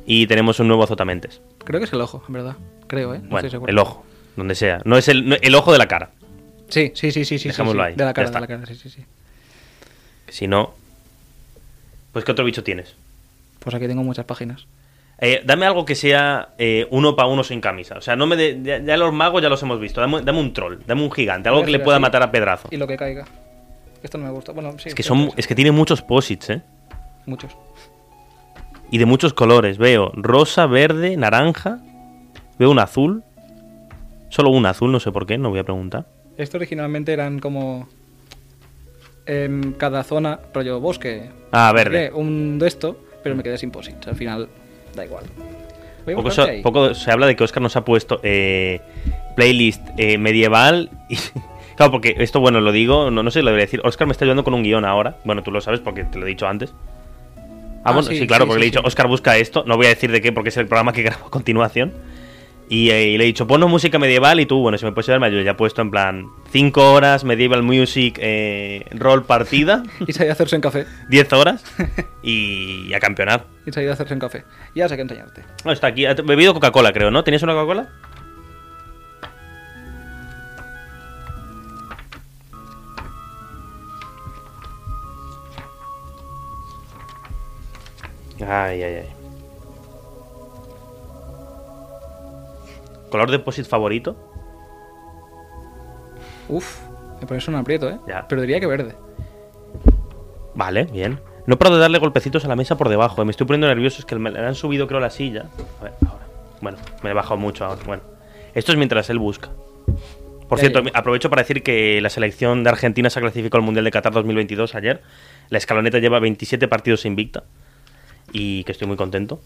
Y tenemos un nuevo azotamentes. Creo que es el ojo, en verdad. Creo, ¿eh? No bueno, estoy seguro. el ojo, donde sea. No es el, no- el ojo de la cara. Sí, sí, sí, sí. sí Dejémoslo sí, sí. ahí, De la ya cara, está. de la cara, sí, sí, sí. Si no. Pues, ¿qué otro bicho tienes? Pues aquí tengo muchas páginas. Eh, dame algo que sea eh, uno para uno sin camisa. O sea, no me de- ya, ya los magos ya los hemos visto. Dame, dame un troll, dame un gigante, algo Voy a que le hacer pueda así. matar a pedrazo. Y lo que caiga. Esto no me gusta. Bueno, sí. Es que, son, es que tiene muchos posits, ¿eh? Muchos. Y de muchos colores. Veo rosa, verde, naranja. Veo un azul. Solo un azul, no sé por qué, no voy a preguntar. Esto originalmente eran como. em, cada zona, rollo bosque. Ah, verde. Eh, Un de esto, pero me quedé sin posits. Al final, da igual. Voy a Poco, buscarte se- ahí. poco se habla de que Oscar nos ha puesto eh, playlist eh, medieval y... Claro, porque esto, bueno, lo digo, no, no sé si lo debería decir. Oscar me está ayudando con un guión ahora. Bueno, tú lo sabes porque te lo he dicho antes. Ah, Ah, bueno, sí, sí, claro, sí, porque sí, le he dicho, sí. Oscar busca esto. No voy a decir de qué porque es el programa que grabo a continuación. Y, eh, y le he dicho, ponnos música medieval y tú, bueno, si me puedes ayudar, me ayudas. Ya he puesto en plan 5 horas, medieval music, eh, rol partida, Y sabía hacerse en café. 10 horas y a campeonar. Y sabía hacerse en café. Ya sé que enseñarte. No, está aquí. Ha bebido Coca-Cola, creo, ¿no? ¿Tenías una Coca-Cola? Ay, ay, ay. ¿Color de posit favorito? Uf, me pones un aprieto, ¿eh? Ya. Pero diría que verde. Vale, bien. No paro de darle golpecitos a la mesa por debajo. eh. Me estoy poniendo nervioso. Es que me le han subido, creo, la silla. A ver, ahora. Bueno, me he bajado mucho ahora. Bueno, esto es mientras él busca. Por Ya cierto, llego. aprovecho para decir que la selección de Argentina se ha clasificado al Mundial de Qatar 2022 ayer. La escaloneta lleva 27 partidos invicta. Y que estoy muy contento.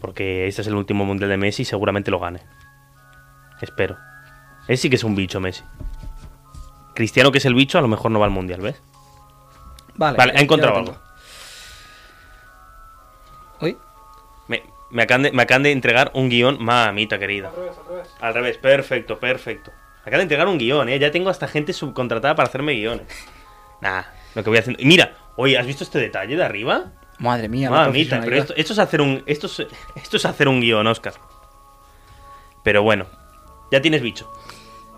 Porque este es el último Mundial de Messi y seguramente lo gane. Espero. Él sí que es un bicho, Messi. Cristiano, que es el bicho, a lo mejor no va al Mundial, ¿ves? Vale. Vale, ya- he encontrado ya lo tengo. Uy, Me, me acaban de, me acaban de entregar un guión, mamita querida. Al revés, perfecto, perfecto. Me acaban de entregar un guión, ¿eh? Ya tengo hasta gente subcontratada para hacerme guiones. Nah, lo que voy haciendo. Mira, oye, ¿has visto este detalle de arriba? madre mía. la Mamita, pero profesionalidad. esto, esto es hacer un. Esto es, esto es hacer un guión, Oscar. Pero bueno, ya tienes bicho.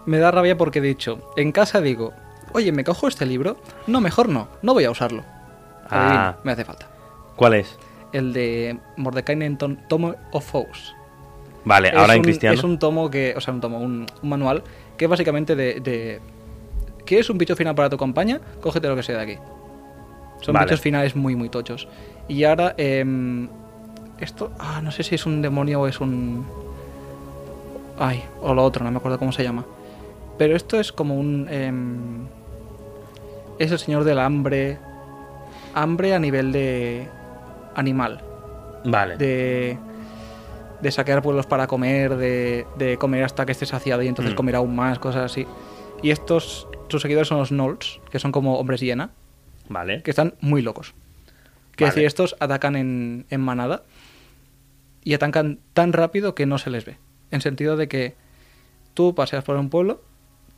Me da rabia porque he dicho, en casa digo, oye, ¿me cojo este libro? No, mejor no, no voy a usarlo. Adivina, Ah. me hace falta. ¿Cuál es? El de Mordecai Tom Tomo of Foes. Vale, Eh, ahora es en un, cristiano. Es un tomo que, o sea, un tomo, un, un manual que es básicamente de, de... ¿Quieres un bicho final para tu compañía? Cógete lo que sea de aquí. Son Vale. bichos finales muy, muy tochos. Y ahora, em, esto, ah, no sé si es un demonio o es un... Ay, o lo otro, no me acuerdo cómo se llama. Pero esto es como un... em, es el señor del hambre. Hambre a nivel de animal Vale. de, de saquear pueblos para comer, de, de comer hasta que esté saciado y entonces Mm. comer aún más, cosas así. Y estos, sus seguidores son los Knolls, que son como hombres hiena, Vale. que están muy locos. Que Vale. decir, estos atacan en, en manada y atacan tan rápido que no se les ve. En sentido de que tú paseas por un pueblo,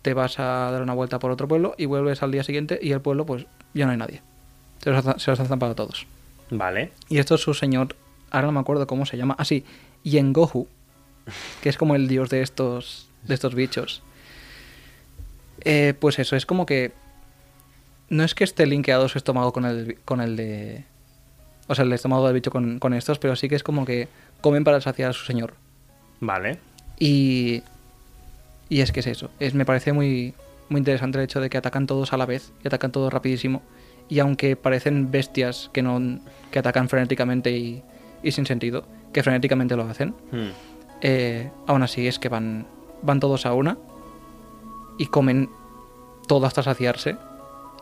te vas a dar una vuelta por otro pueblo y vuelves al día siguiente y el pueblo pues ya no hay nadie. Se los, ha- se los han zampado a todos. Vale. Y esto es su señor, ahora no me acuerdo cómo se llama, así, Yengohu, que es como el dios de estos, de estos bichos. Eh, pues eso, es como que... No es que esté linkeado su estómago con el, con el de... O sea, el estómago del bicho con, con estos, pero sí que es como que comen para saciar a su señor. Vale. Y... Y es que es eso. Es, me parece muy, muy interesante el hecho de que atacan todos a la vez y atacan todos rapidísimo. Y aunque parecen bestias que, no, que atacan frenéticamente y, y sin sentido, que frenéticamente lo hacen, Hmm. eh, aún así es que van, van todos a una y comen todo hasta saciarse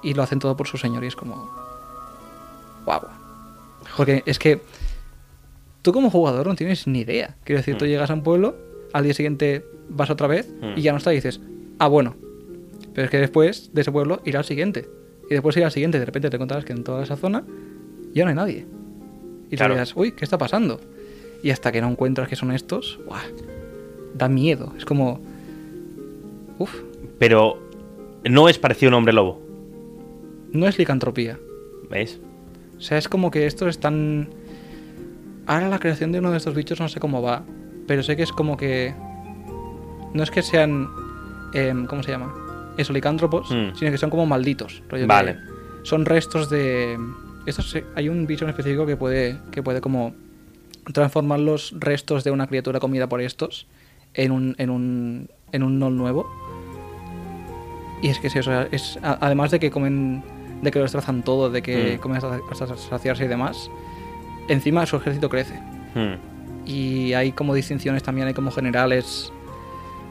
y lo hacen todo por su señor y es como... ¡Guau! Porque es que tú como jugador no tienes ni idea. Quiero decir, tú Mm. llegas a un pueblo, al día siguiente vas otra vez Mm. y ya no está y dices, ah, bueno. Pero es que después de ese pueblo irá al siguiente. Y después irá al siguiente y de repente te encontrarás que en toda esa zona ya no hay nadie. Y Claro. te dirás, uy, ¿qué está pasando? Y hasta que no encuentras que son estos, ¡buah! da miedo. Es como... Uf, Pero no es parecido a un hombre lobo. no es licantropía. ¿Ves? O sea, es como que estos están... Ahora la creación de uno de estos bichos no sé cómo va, pero sé que es como que... No es que sean... em, ¿Cómo se llama? es licántropos, Mm. sino que son como malditos. rollo de- Vale. son restos de. Estos, se- hay un bicho en específico que puede, que puede como transformar los restos de una criatura comida por estos en un, en un, en un nol nuevo. Y es que es eso, es, a- además de que comen, de que lo destrozan todo, de que Mm. comen hasta, hasta saciarse y demás, encima su ejército crece. Hmm. Y hay como distinciones también, hay como generales.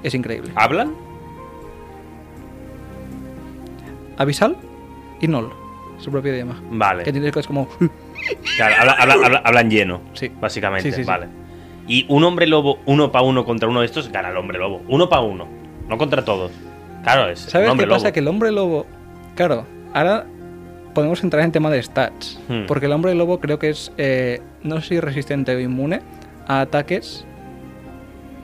Es increíble. ¿Hablan? Abisal y Nol, su propio idioma. Vale. Que tiene que es como. Claro, habla- habla- habla- hablan lleno, Sí. básicamente. Sí, sí, sí. Vale. Y un hombre lobo uno para uno contra uno de estos gana el hombre lobo. Uno para uno. No contra todos. Claro, es ¿Sabes un qué hombre pasa? lobo. Que el hombre lobo. Claro, ahora podemos entrar en tema de stats. Hmm. Porque el hombre lobo creo que es. eh, no sé si resistente o inmune a ataques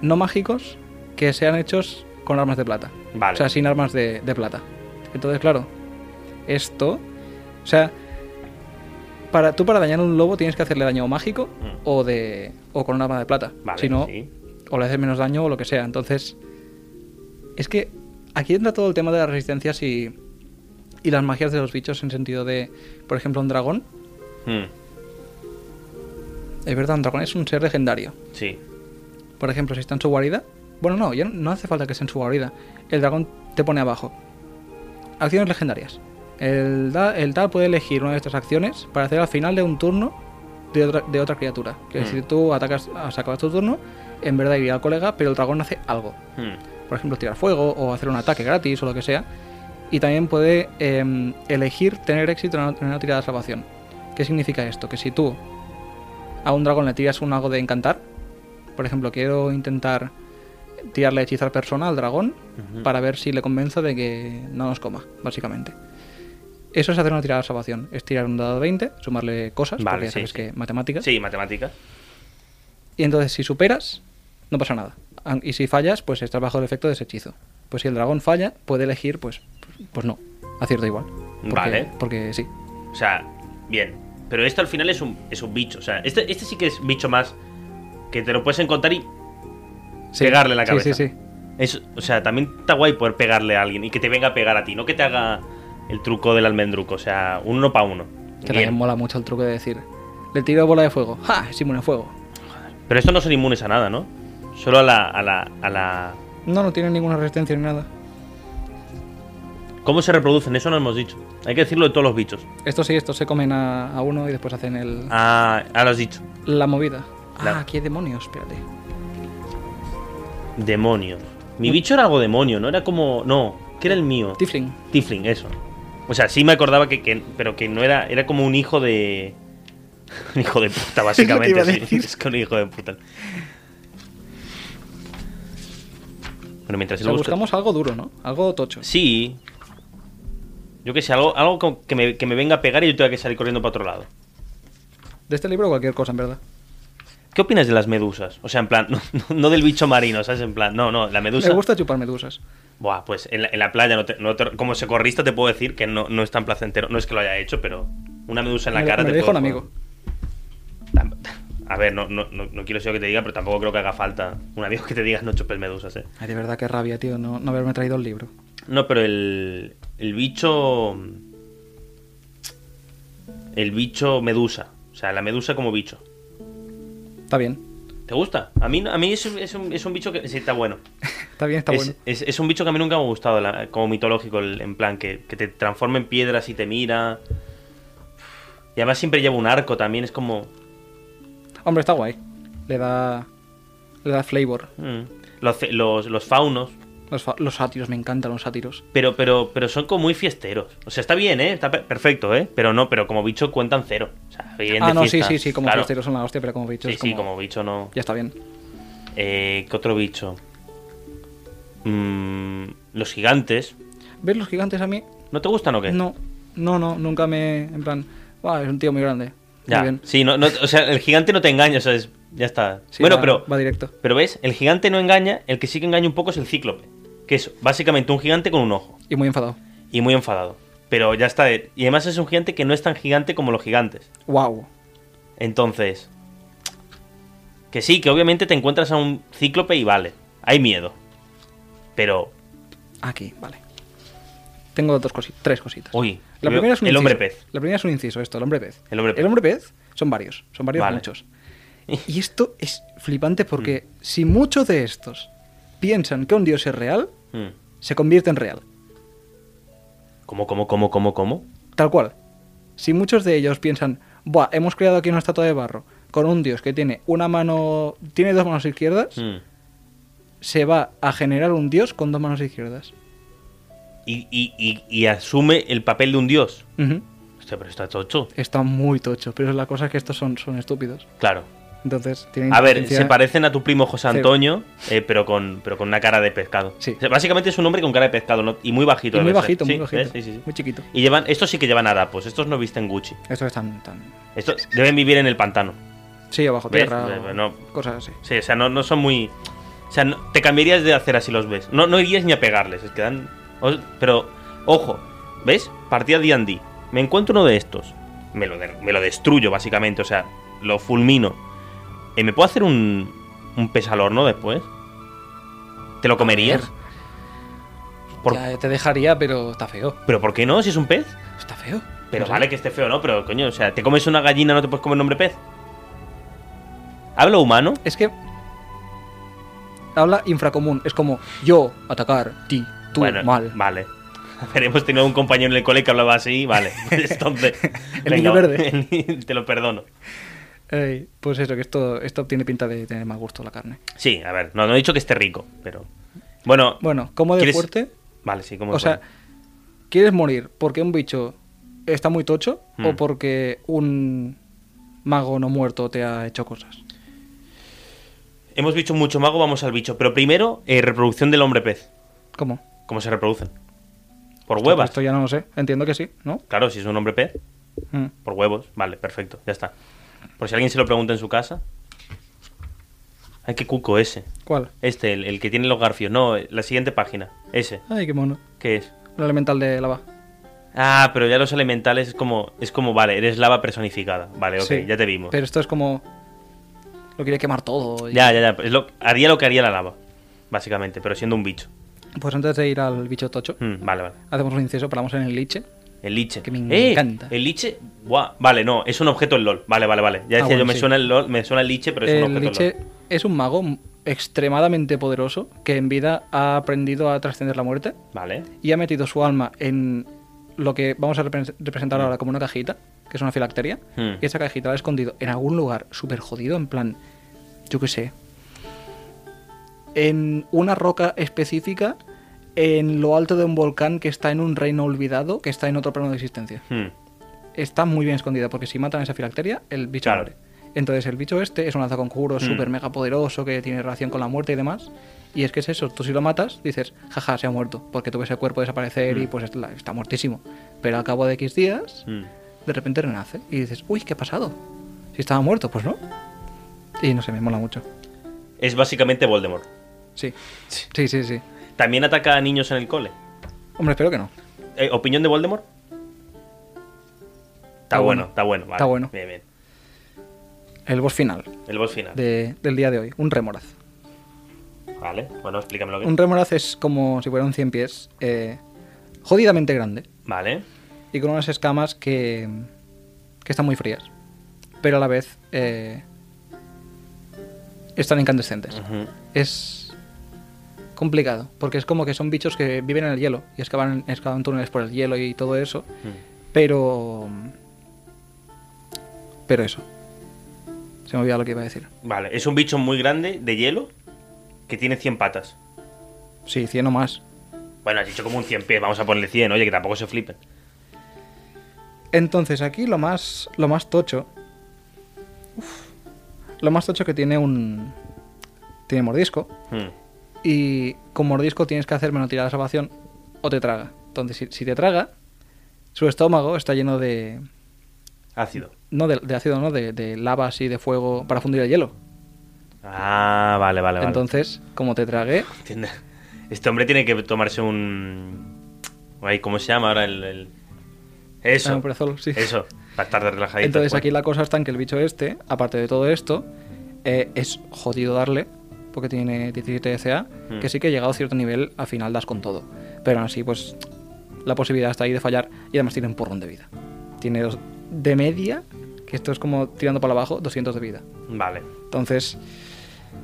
no mágicos que sean hechos con armas de plata. Vale. O sea, sin armas de, de plata. Entonces, claro, esto. O sea. Para, tú para dañar a un lobo tienes que hacerle daño o mágico Mm. o de. o con un arma de plata. Vale, si no, sí. o le haces menos daño o lo que sea. Entonces, es que aquí entra todo el tema de las resistencias y, y las magias de los bichos en sentido de, por ejemplo, un dragón. Hmm. Es verdad, un dragón es un ser legendario. Sí. Por ejemplo, si está en su guarida. Bueno, no, ya no- no hace falta que esté en su guarida. El dragón te pone abajo. Acciones legendarias. El, da- el tal puede elegir una de estas acciones para hacer al final de un turno de otra, de otra criatura. Que Mm. si tú atacas, has acabado tu turno, en verdad iría al colega, pero el dragón hace algo. Hmm. por ejemplo, tirar fuego o hacer un ataque gratis o lo que sea. Y también puede em, elegir tener éxito en una, en una tirada de salvación. ¿Qué significa esto? Que si tú a un dragón le tiras un algo de encantar, por ejemplo, quiero intentar tirarle hechizar persona al dragón Ujú. para ver si le convenzo de que no nos coma, básicamente. Eso es hacer una tirada de salvación. Es tirar un dado de 20, sumarle cosas, Vale, porque ya sí, sabes sí. que matemáticas. Sí, matemáticas. Y entonces, si superas, no pasa nada. An- Y si fallas, pues estás bajo el efecto de ese hechizo. Pues si el dragón falla, puede elegir, pues, pues, pues no. Acierto igual. Porque- Vale. Porque sí. O sea, bien. Pero este al final es un, es un bicho. O sea, este, este sí que es bicho más que te lo puedes encontrar y Sí. pegarle en la Sí, cabeza. Sí, sí, Es- o sea, también está guay poder pegarle a alguien y que te venga a pegar a ti, no que te haga el truco del almendruco, o sea, uno para uno. Que Bien. también mola mucho el truco de decir. Le tiro bola de fuego. ¡Ja! Es inmune a fuego. Pero estos no son inmunes a nada, ¿no? Solo a la, a la, a la... No, no tiene ninguna resistencia ni nada. ¿Cómo se reproducen? Eso no hemos dicho. Hay que decirlo de todos los bichos. Estos sí, estos se comen a, a uno y después hacen el, Ah, ah, lo has dicho. la movida. La- Ah, qué demonios, espérate. Demonios. Mi bicho era algo demonio, no era como... No, ¿qué era el mío? Tifling. Tifling, eso. O sea, sí me acordaba que, que- pero que no era, era como un hijo de, un hijo de puta Es básicamente. lo que iba a sí. decir. es que un hijo de puta. Bueno, mientras O lo sea, busco- buscamos algo duro, ¿no? Algo tocho. Sí. Yo qué sé, algo, algo como que, me, que me venga a pegar y yo tenga que salir corriendo para otro lado. De este libro cualquier cosa, en verdad. ¿Qué opinas de las medusas? O sea, en plan, no, no del bicho marino, ¿sabes? En plan, no, no, la medusa. Me gusta chupar medusas. Buah, pues en la, en la playa, no te- no te- como socorrista, te puedo decir que no, no es tan placentero. No es que lo haya hecho, pero una medusa en la me, cara me te lo dijo un puede- amigo. Tam- A ver, no, no, no, no quiero ser yo que te diga, pero tampoco creo que haga falta un amigo que te diga no chupes medusas, eh. Ay, de verdad que rabia, tío, no, no haberme traído el libro. No, pero el, el bicho. El bicho medusa. O sea, la medusa como bicho. Está bien, ¿Te gusta? A mí, no- a mí es, un- es un, es un bicho que sí, está bueno. está bien, está es, bueno. es- es un bicho que a mí nunca me ha gustado, la- como mitológico, el- en plan, que, que te transforma en piedras y te mira. Y además siempre lleva un arco también, es como. Hombre, está guay. Le da. Le da flavor. mm. Los, ce- los- los faunos. Los, fa- los sátiros, me encantan los sátiros. Pero, pero, pero son como muy fiesteros. O sea, está bien, ¿eh? Está per- perfecto, ¿eh? Pero no, pero como bicho cuentan cero. O sea, vienen Ah, de no, sí, fiesta. sí, sí, como Claro. fiesteros son la hostia, pero como bichos. Sí, sí, como bicho no. Ya está bien. Eh, ¿Qué otro bicho? Mm, los gigantes. ¿Ves los gigantes a mí? ¿No te gustan o qué? No, no, no, nunca me. En plan, "Buah, es un tío muy grande. Ya. Muy bien. Sí, no, no- o sea, el gigante no te engaña, o sea, es- ya está. Sí, bueno, va- pero. Va directo. Pero ves, el gigante no engaña, el que sí que engaña un poco es el cíclope. Que es básicamente un gigante con un ojo. Y muy enfadado. Y muy enfadado. Pero ya está. eh, Y además es un gigante que no es tan gigante como los gigantes. ¡Wow! Entonces, que sí, que obviamente te encuentras a un cíclope y vale, hay miedo. Pero Aquí, vale. Tengo dos cositas, tres cositas. Uy, la veo- primera es un el hombre inciso. pez. La primera es un inciso, esto, el hombre pez. El hombre pez. pez son varios, son varios Vale. muchos. Y esto es flipante porque Mm. si muchos de estos piensan que un dios es real, Mm. se convierte en real. ¿Cómo, cómo, cómo, cómo, cómo? Tal cual. Si muchos de ellos piensan, Buah, hemos creado aquí una estatua de barro con un dios que tiene una mano. tiene dos manos izquierdas, Mm. se va a generar un dios con dos manos izquierdas. Y, y- y- y asume el papel de un dios. Ujú. Hostia, pero está tocho. Está muy tocho, pero la cosa es que estos son, son estúpidos. Claro. Entonces tienen. A ver, inteligencia- se parecen a tu primo José Sí. Antonio, eh, pero, con, pero con una cara de pescado. Sí. O sea, básicamente es un hombre con cara de pescado ¿no? y muy bajito. Y muy debe ser. bajito, muy Sí, bajito. ¿ves? Sí, sí, sí. Muy chiquito. Y llevan, estos sí que llevan harapos, estos no visten Gucci. Estos están tan. Estos deben vivir en el pantano. Sí, abajo ¿Ves? tierra. o Eh, no. Cosas así. Sí, o sea, no, no son muy. O sea, no- te cambiarías de hacer así los ves. No, no irías ni a pegarles, es que dan. os- Pero, ojo, ¿ves? Partida D&D. Me encuentro uno de estos. Me lo, de- me lo destruyo, básicamente, o sea, lo fulmino. Eh, ¿Me puedo hacer un, un pez al horno después? ¿Te lo comerías? Por- Ya te dejaría, pero está feo. ¿Pero por qué no? Si es un pez. Está feo. Pero No sé. vale que esté feo, ¿no? Pero coño, o sea, ¿te comes una gallina no te puedes comer un hombre pez? ¿Hablo humano? Es que. Habla infracomún. Es como yo, atacar, ti, tú, Bueno, mal. Vale. Pero hemos tenido un compañero en el cole que hablaba así, vale. Entonces, El niño va, verde. el- te lo perdono. Ey, pues eso, que esto, esto tiene pinta de tener mal gusto la carne. Sí, a ver, no, no he dicho que esté rico, pero. Bueno, Bueno, como de ¿quieres- fuerte. Vale, sí, como O sea, ¿quieres morir porque un bicho está muy tocho o Mm. porque un mago no muerto te ha hecho cosas? Hemos dicho mucho mago, vamos al bicho. Pero primero, eh, reproducción del hombre pez. ¿Cómo? ¿Cómo se reproducen? Por Esto- huevas. Esto ya no lo sé. Entiendo que sí, ¿no? Claro, si es un hombre pez, Mm. por huevos. Vale, perfecto, ya está. Por si alguien se lo pregunta en su casa. Ay, qué cuco ese. ¿Cuál? Este, el, el que tiene los garfios. No, eh, la siguiente página. Ese. Ay, qué mono. ¿Qué es? Un elemental de lava. Ah, pero ya los elementales es como, es como, vale, eres lava personificada. Vale, ok, Sí. ya te vimos. Pero esto es como. Lo quiere quemar todo. y- Ya, ya, ya. es lo- haría lo que haría la lava, básicamente, pero siendo un bicho. Pues antes de ir al bicho tocho, Mm, vale, vale. hacemos un inciso, paramos en el liche. El liche. Que me ¡Eh! encanta. El liche. Buah, vale, no, es un objeto el LOL. Vale, vale, vale. Ya decía Ah, bueno, yo, me sí. suena el LOL, me suena el liche, pero es un El objeto liche el LOL. es un mago m- extremadamente poderoso que en vida ha aprendido a trascender la muerte Vale. y ha metido su alma en lo que vamos a repre- representar ahora como una cajita, que es una filacteria. Hmm. Y esa cajita la ha escondido en algún lugar súper jodido, en plan, yo qué sé, en una roca específica, en lo alto de un volcán que está en un reino olvidado, que está en otro plano de existencia. Hmm, está muy bien escondida, porque si matan a esa filacteria, el bicho Claro. muere. Entonces el bicho este es un lanzaconjuro Mm. súper mega poderoso que tiene relación con la muerte y demás. Y es que es eso, tú si lo matas, dices, jaja, se ha muerto, porque tú ves el cuerpo desaparecer Mm. y pues la- está muertísimo. Pero al cabo de X días, hmm. de repente renace y dices, uy, ¿qué ha pasado? Si estaba muerto, pues no. Y no sé, me mola mucho. Es básicamente Voldemort. Sí, sí, sí, sí. También ataca a niños en el cole. Hombre, espero que no. Eh, ¿Opinión de Voldemort? Está Está bueno. bueno, está bueno, vale. Está bueno. Bien, bien. El boss final El boss final. de- del día de hoy, un remoraz. Vale, bueno, explícamelo bien. Un remoraz es como si fuera un 100 pies, eh, jodidamente grande. Vale. y con unas escamas que, que están muy frías, pero a la vez eh, están incandescentes. Ujú. Es complicado, porque es como que son bichos que viven en el hielo y excavan, excavan túneles por el hielo y todo eso, Mm. pero... Pero eso. Se me olvidó lo que iba a decir. Vale, es un bicho muy grande de hielo que tiene 100 patas. Sí, 100 o más. Bueno, has dicho como un 100 pies, vamos a ponerle 100, oye, que tampoco se flipen. Entonces aquí lo más lo más tocho, Uf. lo más tocho que tiene un tiene mordisco, Mm. Y con mordisco tienes que hacer menos tirada de salvación o te traga. Entonces, si, si te traga, su estómago está lleno de. Ácido. No, de, de ácido, no, de, de lava así, de fuego, para fundir el hielo. Ah, vale, vale, vale. Entonces, como te tragué, Entiendo. Este hombre tiene que tomarse un... Ay, ¿Cómo se llama ahora el...? el- Eso. Omeprazol, sí. Eso, para estar de relajadito. Entonces después. aquí la cosa está en que el bicho este, aparte de todo esto, eh, es jodido darle, porque tiene 17 DCA, Mm. que sí que llegado a cierto nivel, al final das con todo. Pero aún así, pues la posibilidad está ahí de fallar y además tiene un porrón de vida. Tiene dos, de media, que esto es como tirando para abajo, 200 de vida. Vale. Entonces,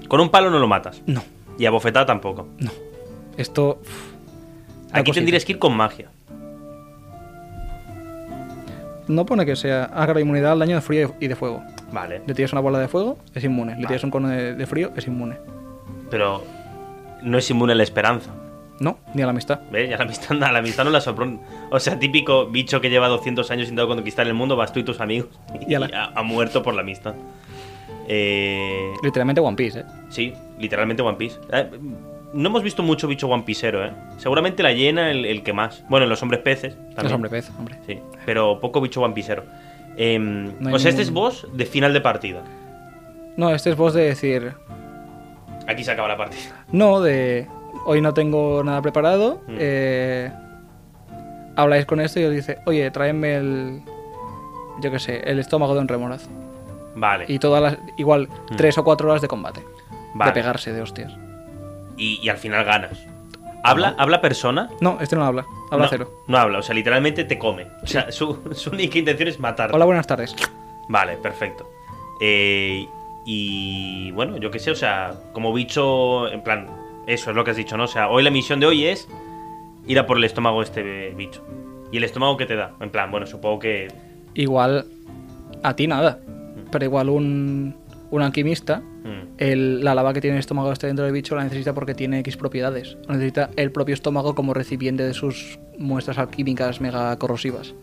Con un palo no lo matas. no, Y a bofetada tampoco. no. Esto. uf, da Aquí cosita. tendrías que ir con magia. No pone que sea. Haga la inmunidad al daño de frío y de fuego. Vale. Le tiras una bola de fuego, es inmune. Le Vale. tiras un cono de, de frío, es inmune. Pero no es inmune a la esperanza. No, ni a la amistad. ¿Ves? Y a la amistad, a la amistad no la sorprende. O sea, típico bicho que lleva 200 años intentando conquistar el mundo, vas tú y tus amigos. Y ala. ha, ha muerto por la amistad. Eh, Literalmente One Piece, ¿eh? sí, literalmente One Piece. Eh, no hemos visto mucho bicho One Piecero, ¿eh? Seguramente la hiena el, el que más. Bueno, en los hombres peces. Es También. hombre pez, hombre. Sí, pero poco bicho One Piecero. Eh, hay o sea, este es ningún- boss de final de partida. No, este es voz de decir. Aquí se acaba la partida. No, de. Hoy no tengo nada preparado. Mm. eh, habláis con esto y os dice, oye, tráeme el. Yo qué sé, el estómago de un remorazo. Vale. Y todas las. Igual, tres o cuatro horas de combate. Mm. Vale. De pegarse, de hostias. y, y al final ganas. ¿Habla, ¿habla persona? No, este no habla. Habla no, cero. No habla, o sea, literalmente te come. O sea, su, su única intención es matarte. Hola, buenas tardes. Vale, perfecto. Eh, y bueno, yo qué sé, o sea, como bicho, en plan, eso es lo que has dicho, ¿no? O sea, hoy la misión de hoy es ir a por el estómago de este bicho. ¿Y el estómago que te da? En plan, bueno, supongo que... Igual. A ti nada. Pero igual un. Un alquimista. mm, el- la lava que tiene el estómago este dentro del bicho la necesita porque tiene X propiedades. Lo Necesita el propio estómago como recipiente de sus muestras alquímicas mega corrosivas.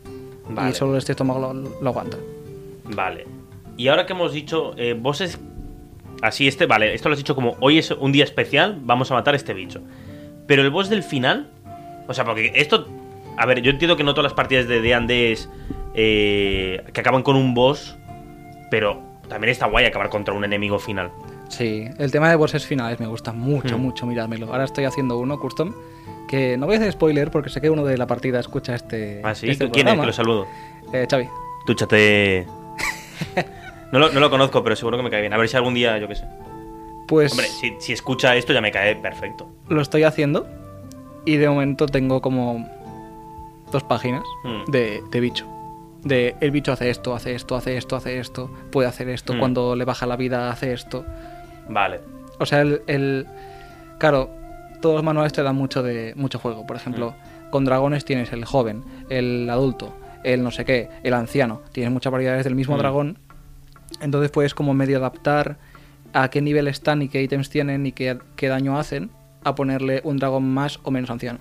Vale. Y solo este estómago lo, lo aguanta. Vale. Y ahora que hemos dicho, eh, vos es... Así este, vale, esto lo has dicho como hoy es un día especial, vamos a matar a este bicho. Pero el boss del final, o sea, porque esto, a ver, yo entiendo que no todas las partidas de D&D es eh, que acaban con un boss, pero también está guay acabar contra un enemigo final. Sí, el tema de bosses finales me gusta mucho, Hmm. mucho mirármelo. Ahora estoy haciendo uno custom que no voy a hacer spoiler porque sé que uno de la partida escucha este. Así, este Ah, ¿quién es? Que programa. lo saludo. Eh, Xavi. Túchate. No lo, no lo conozco, pero seguro que me cae bien. A ver si algún día, yo qué sé. Pues Hombre, si, si escucha esto ya me cae eh, perfecto. lo estoy haciendo y de momento tengo como dos páginas Hmm. de, de bicho. De el bicho hace esto, hace esto, hace esto, hace esto, puede hacer esto, Hmm. cuando le baja la vida hace esto. Vale. O sea, el, el- Claro, todos los manuales te dan mucho, de, mucho juego. Por ejemplo, con dragones tienes el joven, el adulto, el no sé qué, el anciano. Tienes muchas variedades del mismo Hmm. dragón. Entonces puedes como medio adaptar a qué nivel están y qué ítems tienen y qué, qué daño hacen a ponerle un dragón más o menos anciano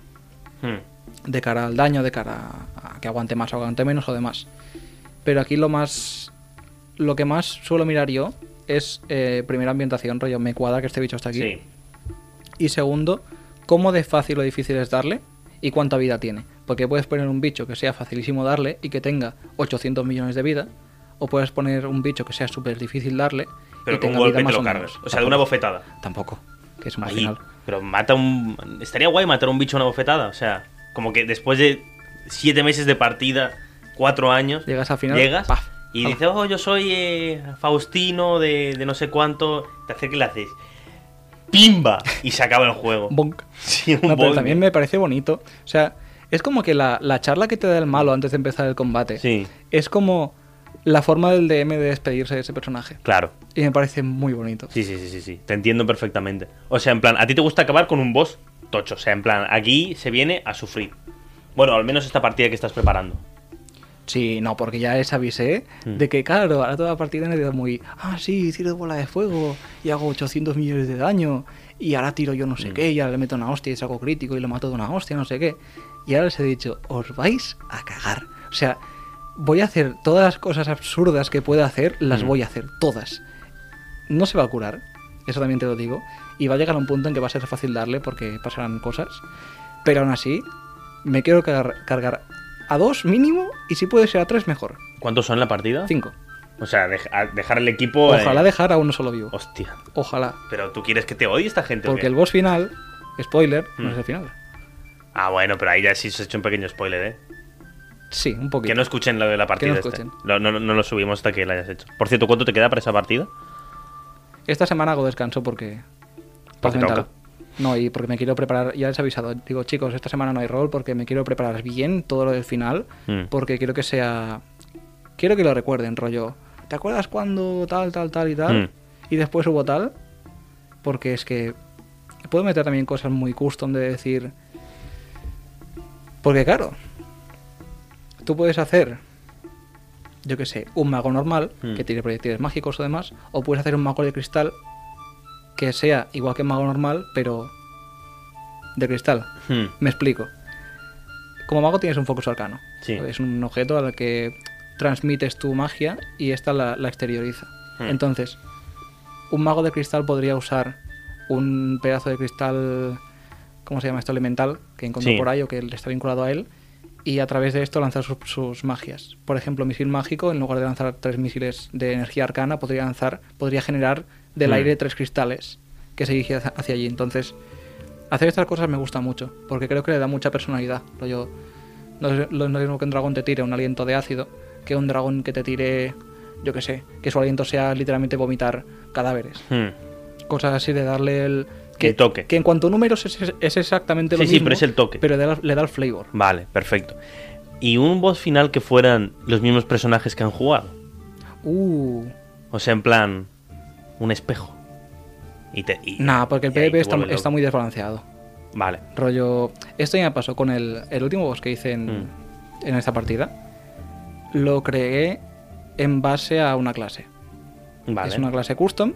Hmm. de cara al daño, de cara a que aguante más o aguante menos o demás. Pero aquí lo más. Lo que más suelo mirar yo es eh, primera ambientación, rollo, me cuadra que este bicho está aquí. Sí. Y segundo, cómo de fácil o difícil es darle y cuánta vida tiene. Porque puedes poner un bicho que sea facilísimo darle y que tenga 800 millones de vida, o puedes poner un bicho que sea súper difícil darle Pero y con un tenga golpe vida te más lo o cargas. menos. O sea, de una bofetada. Tampoco, que es un Ahí. final. Pero mata un. Estaría guay matar a un bicho a una bofetada. O sea, como que después de siete meses de partida, cuatro años. Llegas al final, Llegas. ¡paf! Y Ala. dices, oh, yo soy eh, Faustino de, de no sé cuánto. Te acercas y le haces. ¡Pimba! Y se acaba el juego. Bonk. Sí, un No, pero boing. también me parece bonito. O sea, es como que la, la charla que te da el malo antes de empezar el combate Sí, es como la forma del DM de despedirse de ese personaje. claro. Y me parece muy bonito. Sí, sí, sí, sí, sí. Te entiendo perfectamente. O sea, en plan, a ti te gusta acabar con un boss tocho. O sea, en plan, aquí se viene a sufrir. Bueno, al menos esta partida que estás preparando. Sí, no, porque ya les avisé Mm. de que, claro, ahora toda la partida han ido muy. Ah, sí, tiro bola de fuego y hago 800 millones de daño. Y ahora tiro yo no Mm. sé qué, y ahora le meto una hostia y saco crítico y lo mato de una hostia, no sé qué. Y ahora les he dicho, os vais a cagar. O sea, voy a hacer todas las cosas absurdas que pueda hacer, las Mm. voy a hacer, todas. No se va a curar, eso también te lo digo. Y va a llegar a un punto en que va a ser fácil darle porque pasarán cosas. Pero aún así, me quiero cargar, cargar a dos mínimo y si puede ser a tres, mejor. ¿Cuántos son en la partida? Cinco. O sea, dej- a- dejar el equipo. Ojalá eh, dejar a uno solo vivo. Hostia. Ojalá. Pero tú quieres que te odie esta gente. o Porque qué? el boss final, spoiler, no Mm. es el final. Ah, bueno, pero ahí ya sí se ha hecho un pequeño spoiler, ¿eh? Sí, un Que poquito. no escuchen lo de la partida. este. escuchen. Lo- No, no, lo subimos hasta que la hayas hecho. Por cierto, ¿cuánto te queda para esa partida? Esta semana hago descanso porque. Porque paz mental. toca. No, y porque me quiero preparar, ya les he avisado, digo chicos, esta semana no hay rol porque me quiero preparar bien todo lo del final, Mm. porque quiero que sea... Quiero que lo recuerden, rollo. ¿Te acuerdas cuando tal, tal, tal y tal? Mm. Y después hubo tal, porque es que puedo meter también cosas muy custom de decir... Porque claro, tú puedes hacer, yo qué sé, un mago normal, Mm. que tiene proyectiles mágicos o demás, o puedes hacer un mago de cristal que sea igual que mago normal, pero de cristal. Hmm. Me explico. Como mago tienes un focus arcano. Sí. Es un objeto al que transmites tu magia y esta la, la exterioriza. Hmm. Entonces, un mago de cristal podría usar un pedazo de cristal, ¿cómo se llama esto? Elemental, que encontró Sí. por ahí o que le está vinculado a él, y a través de esto lanzar sus, sus magias. Por ejemplo, misil mágico, en lugar de lanzar tres misiles de energía arcana, podría lanzar, podría generar del Mm. aire tres cristales que se dirigían hacia- hacia allí. Entonces, hacer estas cosas me gusta mucho, porque creo que le da mucha personalidad. Rollo, no es lo no es lo mismo que un dragón te tire un aliento de ácido, que un dragón que te tire, yo qué sé, que su aliento sea literalmente vomitar cadáveres. Hmm. Cosas así de darle el... Que, El toque. Que en cuanto a números es, es exactamente lo Sí, sí, mismo. pero es el toque. Pero le da, le da el flavor. Vale, perfecto. Y un boss final que fueran los mismos personajes que han jugado. Uh... O sea, en plan, un espejo. Y te, y- Nah, porque el y ahí PvP te está, vuelve está loco. muy desbalanceado. Vale. Rollo. Esto ya me pasó con el, el último boss que hice en, Mm. en esta partida. Lo creé en base a una clase. Vale. Es una clase custom.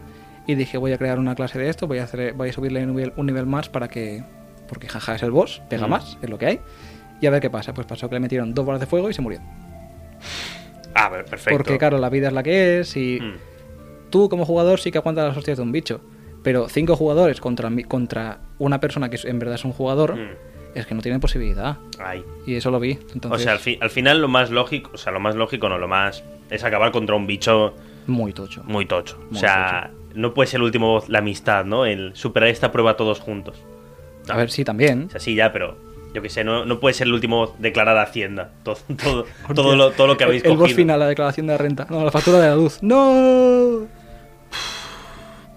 Y dije, voy a crear una clase de esto, voy a, hacer, voy a subirle un nivel, un nivel más para que. Porque jaja es el boss, pega Mm. más, es lo que hay. Y a ver qué pasa. Pues pasó que le metieron dos bolas de fuego y se murió. Ah, vale, perfecto. Porque, claro, la vida es la que es y. Hmm. Tú como jugador sí que aguantas las hostias de un bicho, pero cinco jugadores contra, mi- contra una persona que es- en verdad es un jugador Mm. es que no tienen posibilidad. Ahí. Y eso lo vi. Entonces, O sea, al, fi- al final lo más lógico, o sea, lo más lógico no, lo más es acabar contra un bicho muy tocho. muy tocho. Muy o sea, no puede ser el último boss la amistad, ¿no? El superar esta prueba todos juntos. A ver, sí, también. Mm. O sea, sí, ya, pero yo qué sé, no, no puede ser el último boss declarar a Hacienda. Todo, todo, todo, lo, todo lo que habéis El- El boss cogido. final, la declaración de renta. No, la factura de la luz. ¡No!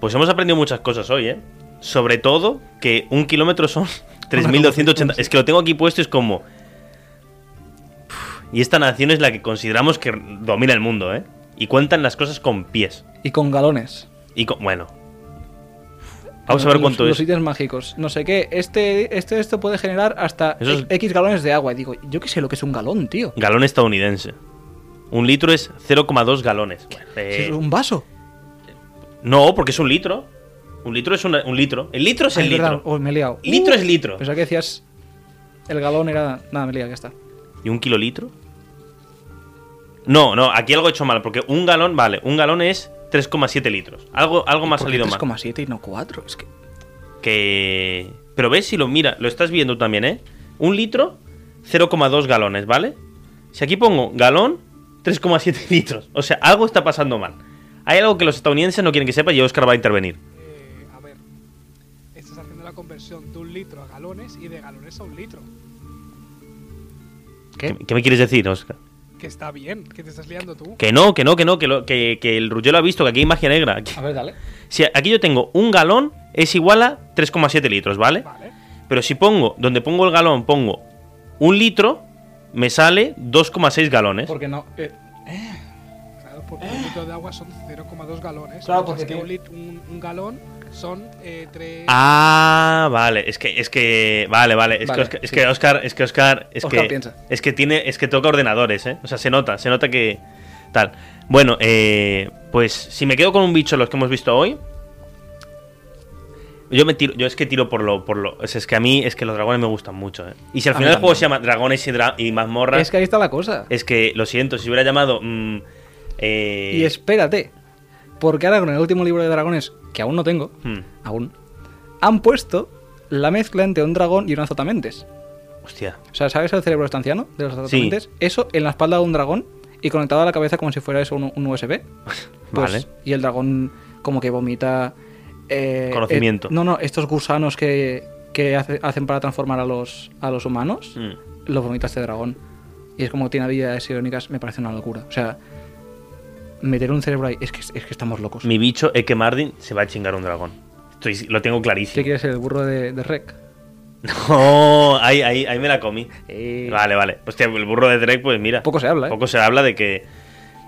Pues hemos aprendido muchas cosas hoy, ¿eh? Sobre todo que un kilómetro son 3.280. Es que lo tengo aquí puesto, es como. Uf, Y esta nación es la que consideramos que domina el mundo, ¿eh? Y cuentan las cosas con pies. Y con galones. Y con. Bueno. Vamos a ver Los- cuánto los es. sitios mágicos. No sé qué. Este, este esto puede generar hasta Eso es- X galones de agua. Y digo, yo qué sé lo que es un galón, tío. Galón estadounidense. Un litro es 0,2 galones. Bueno, Si eh, es un vaso. No, porque es un litro. Un litro es una- un litro. El litro es Ah, el es verdad. litro. Oh, me he liado. Litro Uh, es litro. Pensaba que decías. El galón era. Nada, me he liado, ya está. ¿Y un kilolitro? No, no, aquí algo he hecho mal, porque un galón, vale, un galón es 3,7 litros. Algo, algo me ha ¿Por qué salido mal. 3,7 y no 4. Es que. Que... Pero ves si lo mira, lo estás viendo también, ¿eh? Un litro, 0,2 galones, ¿vale? Si aquí pongo galón, 3,7 litros. O sea, algo está pasando mal. Hay algo que los estadounidenses no quieren que sepa y Oscar va a intervenir. Eh, a ver, estás haciendo la conversión de un litro a galones y de galones a un litro. ¿Qué? ¿Qué me quieres decir, Oscar? Que está bien, que te estás liando tú. Que no, que no, que no, que, lo- que, que el Ruggero ha visto que aquí hay magia negra. Aquí- A ver, dale. si aquí yo tengo un galón, es igual a 3,7 litros, ¿vale? Vale. Pero si pongo, donde pongo el galón, pongo un litro, me sale 2,6 galones. Porque no. eh, Claro, porque un litro de agua son 0,2 galones. Claro, mientras porque que un, tiene- lit- un- un galón son eh, 3... Ah, vale, es que, es que, vale, vale, es, Vale, que, Oscar, es sí. que Oscar, es que Oscar, es Oscar que, piensa. es que tiene, es que toca ordenadores, ¿eh? O sea, se nota, se nota que tal. Bueno, eh, pues si me quedo con un bicho los que hemos visto hoy, yo me tiro, yo es que tiro por lo, por lo, o sea, es que a mí, es que los dragones me gustan mucho, ¿eh? Y si al A mí final el juego también. se llama Dragones y, dra- y mazmorras, Es que ahí está la cosa. Es que, lo siento, si hubiera llamado. mm, eh, Y espérate. Porque ahora con el último libro de dragones, que aún no tengo, hmm, aún, han puesto la mezcla entre un dragón y un azotamentes. hostia. O sea, ¿sabes el cerebro estanciano de los azotamentes? Eso en la espalda de un dragón y conectado a la cabeza como si fuera eso un, un USB. Pues, Vale. Y el dragón como que vomita... eh, Conocimiento. eh, no, no, estos gusanos que, que hace- hacen para transformar a los, a los humanos. Mm. los vomita este dragón. Y es como tiene habilidades irónicas, me parece una locura. O sea, meter un cerebro ahí, es que, es que estamos locos. Mi bicho, Eke Mardin, se va a chingar un dragón. Estoy- lo tengo ¿Qué clarísimo. quieres ser el burro de, de Rec? No, ahí, ahí, ahí me la comí. Eh, Vale, vale. Hostia, el burro de Drake, pues mira. Poco se habla, ¿eh? Poco se habla de que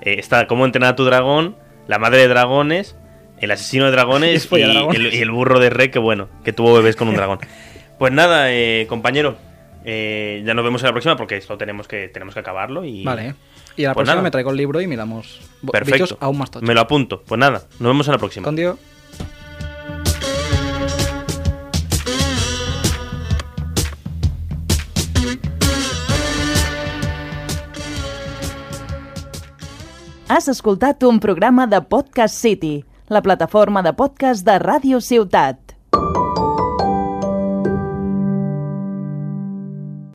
eh, está cómo entrenar a tu dragón, la madre de dragones, el asesino de dragones Es y, folladragones. el, y el burro de rey que bueno, que tuvo bebés con un dragón. Pues nada, eh, compañero, eh, ya nos vemos en la próxima porque esto tenemos que, tenemos que acabarlo y... Vale. ¿eh? Y a la Pues próxima nada. me traigo el libro y miramos bo- bichos Perfecto. aún más tochos. Me lo apunto. Pues nada, nos vemos en la próxima. Condio. Has escoltat un programa de Podcast City, la plataforma de podcast de Ràdio Ciutat.